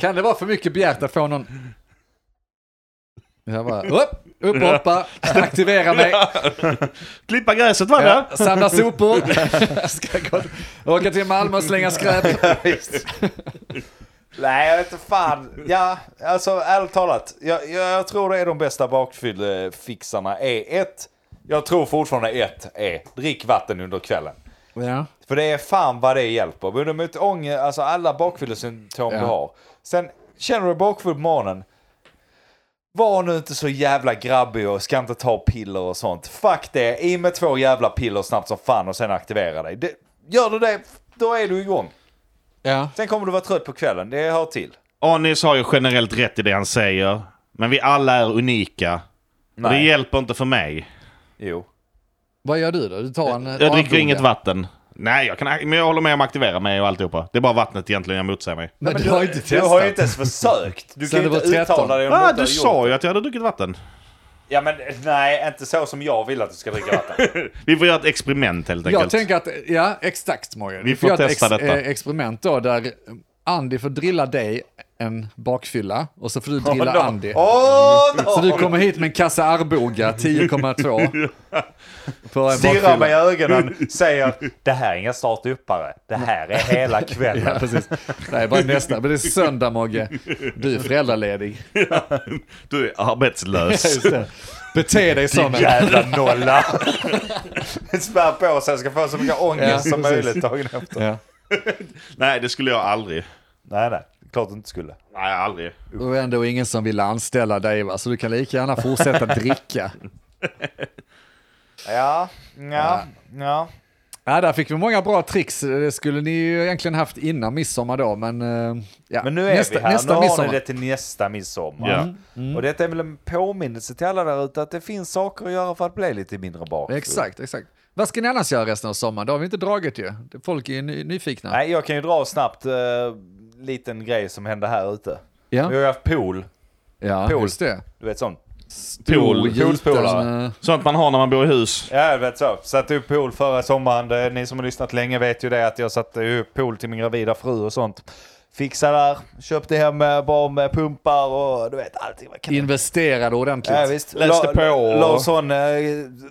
Speaker 3: kan det vara för mycket begärt att få någon... Jag bara, upp, upp och hoppa, aktivera mig,
Speaker 2: Klippa gräset var det?
Speaker 3: ja, samla sopor, ska gå, åka till Malmö och slänga skräp.
Speaker 1: Nej, jag vet inte fan. Ja, alltså ärligt talat. Jag, jag, jag tror det är de bästa bakfyllefixarna är ett. Jag tror fortfarande E ett är drick vatten under kvällen.
Speaker 3: Ja.
Speaker 1: För det är fan vad det hjälper. Både mot ånger, alltså alla bakfyllesymptom du
Speaker 3: Ja.
Speaker 1: har. Sen känner du bakfull på morgonen. Var nu inte så jävla grabbig och ska inte ta piller och sånt. Fuck det, i med två jävla piller snabbt som fan och sen aktivera dig. Det, gör du det, då är du igång.
Speaker 3: ja.
Speaker 1: Sen kommer du vara trött på kvällen, det hör till.
Speaker 2: Anis har ju generellt rätt i det han säger. Men vi alla är unika. Och Det hjälper inte för mig.
Speaker 1: Jo.
Speaker 3: Vad gör du då? Du tar en
Speaker 2: Jag dricker
Speaker 3: avgoda.
Speaker 2: inget vatten. Nej, jag, kan, men jag håller med om att aktivera mig och alltihopa. Det är bara vattnet egentligen jag motsäger mig.
Speaker 3: Men, du har inte
Speaker 1: Du
Speaker 3: testat.
Speaker 1: har ju inte ens försökt. Du
Speaker 3: Sen
Speaker 1: kan ju
Speaker 3: du
Speaker 1: inte
Speaker 3: var 13.
Speaker 1: uttala dig om
Speaker 2: Ah,
Speaker 1: något
Speaker 2: du
Speaker 1: har
Speaker 2: sa
Speaker 1: gjort.
Speaker 2: ju att jag hade druckit vatten.
Speaker 1: Ja men nej, inte så som jag vill att du ska dricka vatten.
Speaker 2: Vi får göra ett experiment helt enkelt.
Speaker 3: Jag tänker att, ja exakt Morgan.
Speaker 2: Vi
Speaker 3: Vi får
Speaker 2: får
Speaker 3: göra ett
Speaker 2: testa detta.
Speaker 3: eh, experiment då där Andy får drilla dig en bakfylla och så får du drilla
Speaker 1: Åh, no.
Speaker 3: Andy. Mm.
Speaker 1: Åh, no.
Speaker 3: Så du kommer hit med en kassa Arboga 10,2. På en
Speaker 1: Stirrar mig i
Speaker 3: bakfylla.
Speaker 1: ögonen, säger det här är inga startuppare. Det här är hela kvällen.
Speaker 3: Ja, precis. Nej, bara nästa. Men det är söndag, Mogge. Du är föräldraledig.
Speaker 2: Du är arbetslös.
Speaker 3: Just det. Bete dig som en...
Speaker 1: Jävla nolla! Spär på så jag ska få så mycket ångest
Speaker 3: Ja,
Speaker 1: som
Speaker 3: precis.
Speaker 1: möjligt dagen efter.
Speaker 3: Ja.
Speaker 2: Nej, det skulle jag aldrig.
Speaker 1: Nej, nej. Klart du inte skulle.
Speaker 2: Nej, aldrig.
Speaker 3: Och ändå ingen som vill anställa dig, va? så du kan lika gärna fortsätta dricka.
Speaker 1: Ja, ja, ja.
Speaker 3: Ja, där fick vi många bra tricks. Det skulle ni ju egentligen haft innan midsommar då, men... eh, Ja.
Speaker 1: Men nu är
Speaker 3: nästa,
Speaker 1: vi här.
Speaker 3: Nästa
Speaker 1: nu har
Speaker 3: midsommar.
Speaker 1: ni det till nästa midsommar.
Speaker 2: Ja.
Speaker 3: Mm.
Speaker 1: Och detta är väl en påminnelse till alla där ute att det finns saker att göra för att bli lite mindre bakfull.
Speaker 3: Exakt, exakt. Vad ska ni annars göra resten av sommaren? Det har vi inte dragit ju. Folk är ju ny, nyfikna.
Speaker 1: Nej, jag kan ju dra snabbt eh, liten grej som hände här ute.
Speaker 3: Ja.
Speaker 1: Vi har ju haft pool,
Speaker 3: ja,
Speaker 1: Pool.
Speaker 3: just det.
Speaker 1: du vet sånt.
Speaker 2: Pool.
Speaker 3: Storgjuten,
Speaker 1: Poolspolare.
Speaker 3: eh,
Speaker 2: Sånt man har när man bor i hus.
Speaker 1: Ja, du vet så. Satte upp pool förra sommaren. Det, ni som har lyssnat länge vet ju det att jag satte upp pool till min gravida fru och sånt. Fixade där, köpte hem eh, bra med pumpar och du vet allting var kanon.
Speaker 3: Investerade ordentligt.
Speaker 1: Ja, visst.
Speaker 2: Läste
Speaker 1: La-
Speaker 2: på och-
Speaker 1: La sån, eh,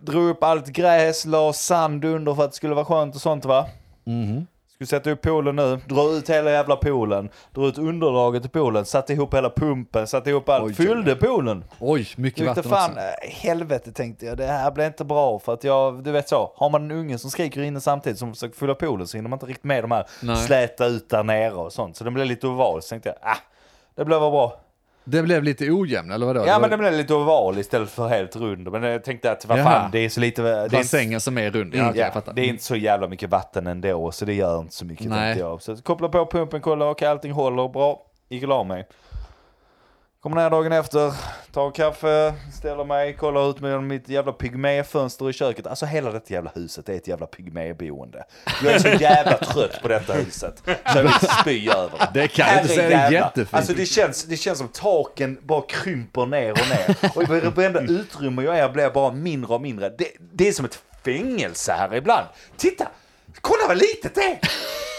Speaker 1: drog upp allt gräs, la sand under för att det skulle vara skönt och sånt va?
Speaker 3: Mhm.
Speaker 1: Skulle sätta upp poolen nu, dra ut hela jävla poolen, dra ut underlaget till poolen, satte ihop hela pumpen, satte ihop allt,
Speaker 3: Oj,
Speaker 1: fyllde poolen.
Speaker 3: Oj, mycket
Speaker 1: Tyckte
Speaker 3: vatten
Speaker 1: fan,
Speaker 3: också.
Speaker 1: eh, helvete tänkte jag, det här blir inte bra för att jag, du vet så, har man en unge som skriker inne samtidigt som försöker fylla poolen så hinner man inte riktigt med de här
Speaker 3: Nej.
Speaker 1: släta ut där nere och sånt. Så den blev lite oval, så tänkte jag, ah, det blev väl bra.
Speaker 3: Det blev lite ojämn, eller vadå?
Speaker 1: Ja
Speaker 3: var
Speaker 1: men den blev lite oval istället för helt rund. Men jag tänkte att vad
Speaker 3: Jaha.
Speaker 1: fan, det är så lite... Det är, inte,
Speaker 3: bassängen som är rund. Ja, okej, jag
Speaker 1: ja,
Speaker 3: fattar.
Speaker 1: det är inte så jävla mycket vatten ändå så det gör inte så mycket
Speaker 3: Nej.
Speaker 1: tänkte jag. Så koppla på pumpen, kolla okej allting håller bra. Gick och la mig. Kommer ner dagen efter, Tar en kaffe, ställer mig, kollar ut genom mitt jävla pygméfönster i köket. Alltså hela detta jävla huset är ett jävla pygméboende. Jag är så jävla trött på detta huset. Så jag vill spy över det.
Speaker 6: Det kan jag inte säga, det är
Speaker 1: Herrejävlar.
Speaker 6: jättefint.
Speaker 1: Alltså det känns, det känns som taken bara krymper ner och ner. Och i varenda
Speaker 2: Mm.
Speaker 1: utrymme jag är blir jag bara mindre och mindre. Det, det är som ett fängelse här ibland. Titta! Kolla vad litet det är!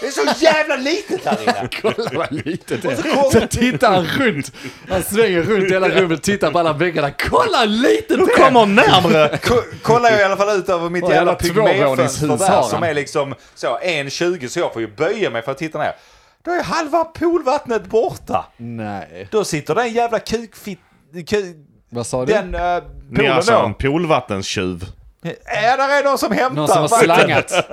Speaker 1: Det är så jävla litet här inne!
Speaker 3: Kolla vad litet det är. Sen tittar han runt. Han svänger runt hela rummet, tittar på alla väggarna. Kolla hur litet det är!
Speaker 2: Kommer närmre!
Speaker 1: Ko- kollar jag i alla fall ut över mitt
Speaker 3: Och
Speaker 1: jävla
Speaker 3: jävla
Speaker 1: pygméfönster
Speaker 3: tvåvåningshus
Speaker 1: där
Speaker 3: har
Speaker 1: som
Speaker 3: han.
Speaker 1: är liksom så 1,20 så jag får ju böja mig för att titta ner. Då är halva poolvattnet borta.
Speaker 3: Nej.
Speaker 1: Då sitter den jävla kukfitt... Kuk,
Speaker 3: Vad sa du?
Speaker 1: den uh,
Speaker 2: Ni är
Speaker 1: poolen
Speaker 2: alltså en
Speaker 1: då.
Speaker 2: poolvattenstjuv.
Speaker 1: Är där är någon som hämtar
Speaker 3: Någon som har
Speaker 1: vatten?
Speaker 3: slangat.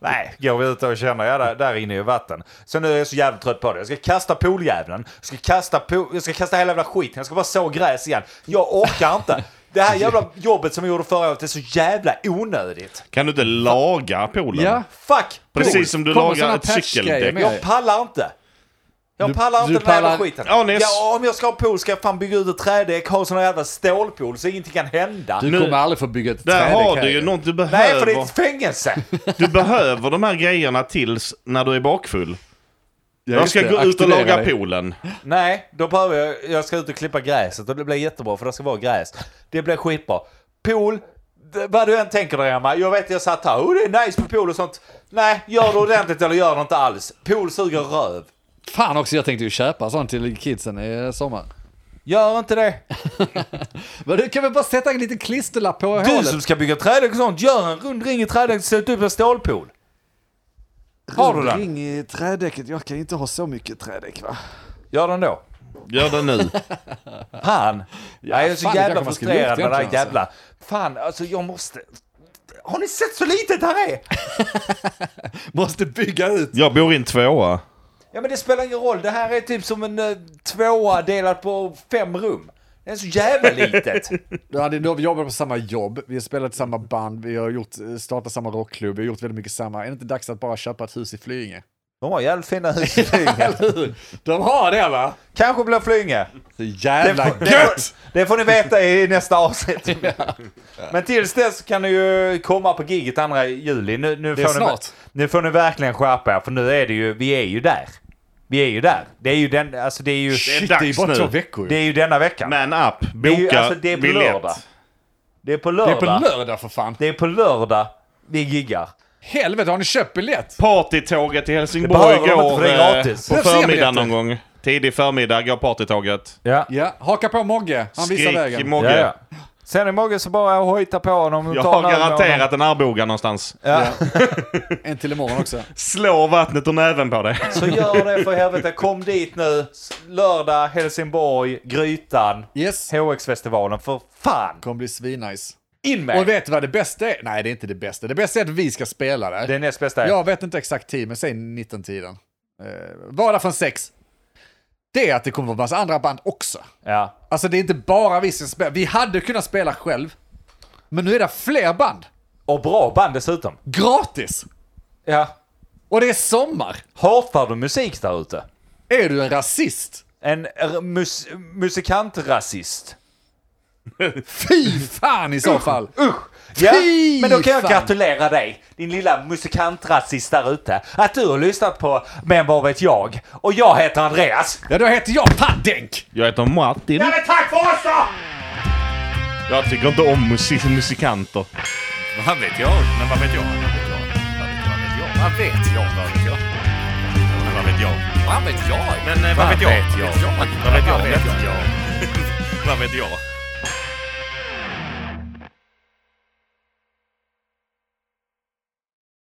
Speaker 1: Nej, går vi ut och känner, ja där, där inne är ju vatten. Så nu är jag så jävla trött på det. Jag ska kasta pooljäveln, jag ska kasta, pool, jag ska kasta hela jävla skiten, jag ska bara så gräs igen. Jag orkar inte. Det här jävla jobbet som jag gjorde förra året är så jävla onödigt.
Speaker 2: Kan du inte laga poolen?
Speaker 3: Ja.
Speaker 1: Fuck!
Speaker 2: Precis som du
Speaker 3: Kommer
Speaker 2: lagar
Speaker 3: såna
Speaker 2: ett
Speaker 3: patchgrejer
Speaker 2: cykeldäck.
Speaker 3: med.
Speaker 1: Jag pallar inte. Jag pallar inte
Speaker 3: du
Speaker 1: den här jävla
Speaker 3: pallar-
Speaker 1: skiten.
Speaker 2: Ja, Nils.
Speaker 1: ja, om jag ska ha pool ska jag fan bygga ut ett trädäck, ha sån här jävla stålpool så ingenting kan hända.
Speaker 3: Du
Speaker 2: Nu-
Speaker 3: kommer aldrig få bygga ett
Speaker 2: Där
Speaker 3: trädäck
Speaker 2: har
Speaker 3: här
Speaker 2: du ju något du
Speaker 1: Nej, för
Speaker 2: behöver.
Speaker 1: det är ett fängelse.
Speaker 2: Du behöver de här grejerna tills när du är bakfull.
Speaker 3: Ja,
Speaker 2: Jag
Speaker 3: just
Speaker 2: ska
Speaker 3: det.
Speaker 2: gå ut och
Speaker 3: Aktivera
Speaker 2: laga
Speaker 3: dig.
Speaker 2: poolen.
Speaker 1: Nej, då behöver jag, jag ska ut och klippa gräset och det blir jättebra för det ska vara gräs. Det blir skitbra. Pool, d- vad du än tänker dig Emma, jag vet jag satt här, oh, det är nice med pool och sånt. Nej, gör det ordentligt eller gör det inte alls. Pool suger röv.
Speaker 3: Fan också, jag tänkte ju köpa sånt till kidsen i sommar.
Speaker 1: Gör inte det.
Speaker 3: Men du kan väl bara sätta en liten klisterlapp på
Speaker 1: Du
Speaker 3: hålet?
Speaker 1: som ska bygga trädäck och sånt, gör en rund ring i trädäck och sätt upp en stålpool. Har du den?
Speaker 6: Ring i trädäcket, jag kan inte ha så mycket trädäck va?
Speaker 1: Gör den då.
Speaker 2: Gör det nu.
Speaker 1: Fan! jag är så
Speaker 3: fan, det
Speaker 1: jävla
Speaker 3: kanske man skulle gjort
Speaker 1: frustrerad med det här
Speaker 3: egentligen,
Speaker 1: jävla... Fan, alltså jag måste... Har ni sett så litet här är?
Speaker 3: Måste bygga ut.
Speaker 2: Jag bor i en tvåa.
Speaker 1: Ja men det spelar ingen roll, det här är typ som en eh, tvåa delat på fem rum. Det är så jävla litet.
Speaker 3: Du hade, då, vi jobbar på samma jobb, vi har spelat i samma band, vi har gjort, eh, startat samma rockklubb, vi har gjort väldigt mycket samma. Är det inte dags att bara köpa ett hus i Flyinge?
Speaker 1: De har jävligt fina hus i Flyinge.
Speaker 3: De har det va?
Speaker 1: Kanske blir Flyinge.
Speaker 3: Så
Speaker 1: Det
Speaker 3: jävla
Speaker 1: får, det, får, det får ni veta i nästa avsnitt. Men tills dess kan ni ju komma på giget 2 juli. Nu, nu,
Speaker 3: Det är
Speaker 1: får ni,
Speaker 3: snart.
Speaker 1: nu får ni verkligen skärpa er för nu är det ju, vi är ju där. Vi är ju där. Det är ju den, alltså det är ju,
Speaker 2: Det är
Speaker 3: Shit, det är ju
Speaker 2: dags
Speaker 3: bara två
Speaker 2: nu.
Speaker 3: veckor
Speaker 1: det
Speaker 3: ju.
Speaker 1: är ju denna veckan.
Speaker 2: Man up. Boka
Speaker 1: det är ju, alltså det är på
Speaker 2: biljett.
Speaker 1: lördag. Det är på
Speaker 3: Det
Speaker 1: lördag.
Speaker 3: är på lördag för fan.
Speaker 1: Det är på lördag vi giggar.
Speaker 3: Helvete, har ni köpt biljett?
Speaker 2: Partytåget till
Speaker 1: behöver
Speaker 2: Helsingborg
Speaker 1: de inte, för
Speaker 2: går
Speaker 1: det är
Speaker 2: eh,
Speaker 1: gratis.
Speaker 2: på
Speaker 3: Behövs
Speaker 2: förmiddagen
Speaker 3: e-biljetter.
Speaker 2: någon gång. Tidig förmiddag går partytåget.
Speaker 1: Ja.
Speaker 3: Ja, haka på Mogge, han visar
Speaker 2: Skrik
Speaker 3: vägen.
Speaker 1: Ja,
Speaker 2: Mogge.
Speaker 1: ja. Sen är Mogge så bara hojta på honom. och
Speaker 2: Jag
Speaker 1: ta
Speaker 2: har
Speaker 1: en öl med
Speaker 2: garanterat en Arboga någonstans.
Speaker 3: en till imorgon också.
Speaker 2: Slå vattnet ur näven på dig.
Speaker 1: honom. Så gör det för helvete. Kom dit nu. Lördag, Helsingborg, Grytan,
Speaker 3: Yes.
Speaker 1: HX-festivalen. För fan!
Speaker 3: Kommer bli svinnice.
Speaker 1: In
Speaker 3: Och
Speaker 1: med
Speaker 3: vet du vad det bästa är? Nej, det är inte det bästa. Det bästa är att vi ska spela det.
Speaker 1: Det är näst bästa.
Speaker 3: Jag vet inte exakt tid, men säg 19-tiden. Eh, vara från sex. Det är att det kommer vara massa andra band också.
Speaker 1: Ja.
Speaker 3: Alltså det är inte bara vi som spelar. Vi hade kunnat spela själv. Men nu är det fler band.
Speaker 1: Och bra band dessutom.
Speaker 3: Gratis!
Speaker 1: Ja.
Speaker 3: Och det är sommar.
Speaker 1: Hatar du musik där ute?
Speaker 3: Är du en rasist?
Speaker 1: En r- mus- musikantrasist?
Speaker 3: Fy fan i så fall!
Speaker 1: Ja,
Speaker 3: Fy
Speaker 1: men då kan jag
Speaker 3: fan.
Speaker 1: gratulera dig, din lilla musikantrasist där ute, att du har lyssnat på Men vad vet jag? Och jag heter Andreas.
Speaker 3: Ja, då heter jag Paddenk!
Speaker 2: Jag heter Martin.
Speaker 1: Ja, men tack för oss då!
Speaker 2: Jag tycker inte om musik- musikanter.
Speaker 5: Vad vet jag? Men vad vet jag? Vad vet jag? Vad vet jag? Vad vet jag? Vad vet jag? Vad vet jag? Men eh, vad vet jag? Vad vet jag? Vad vet jag? Vad vet jag?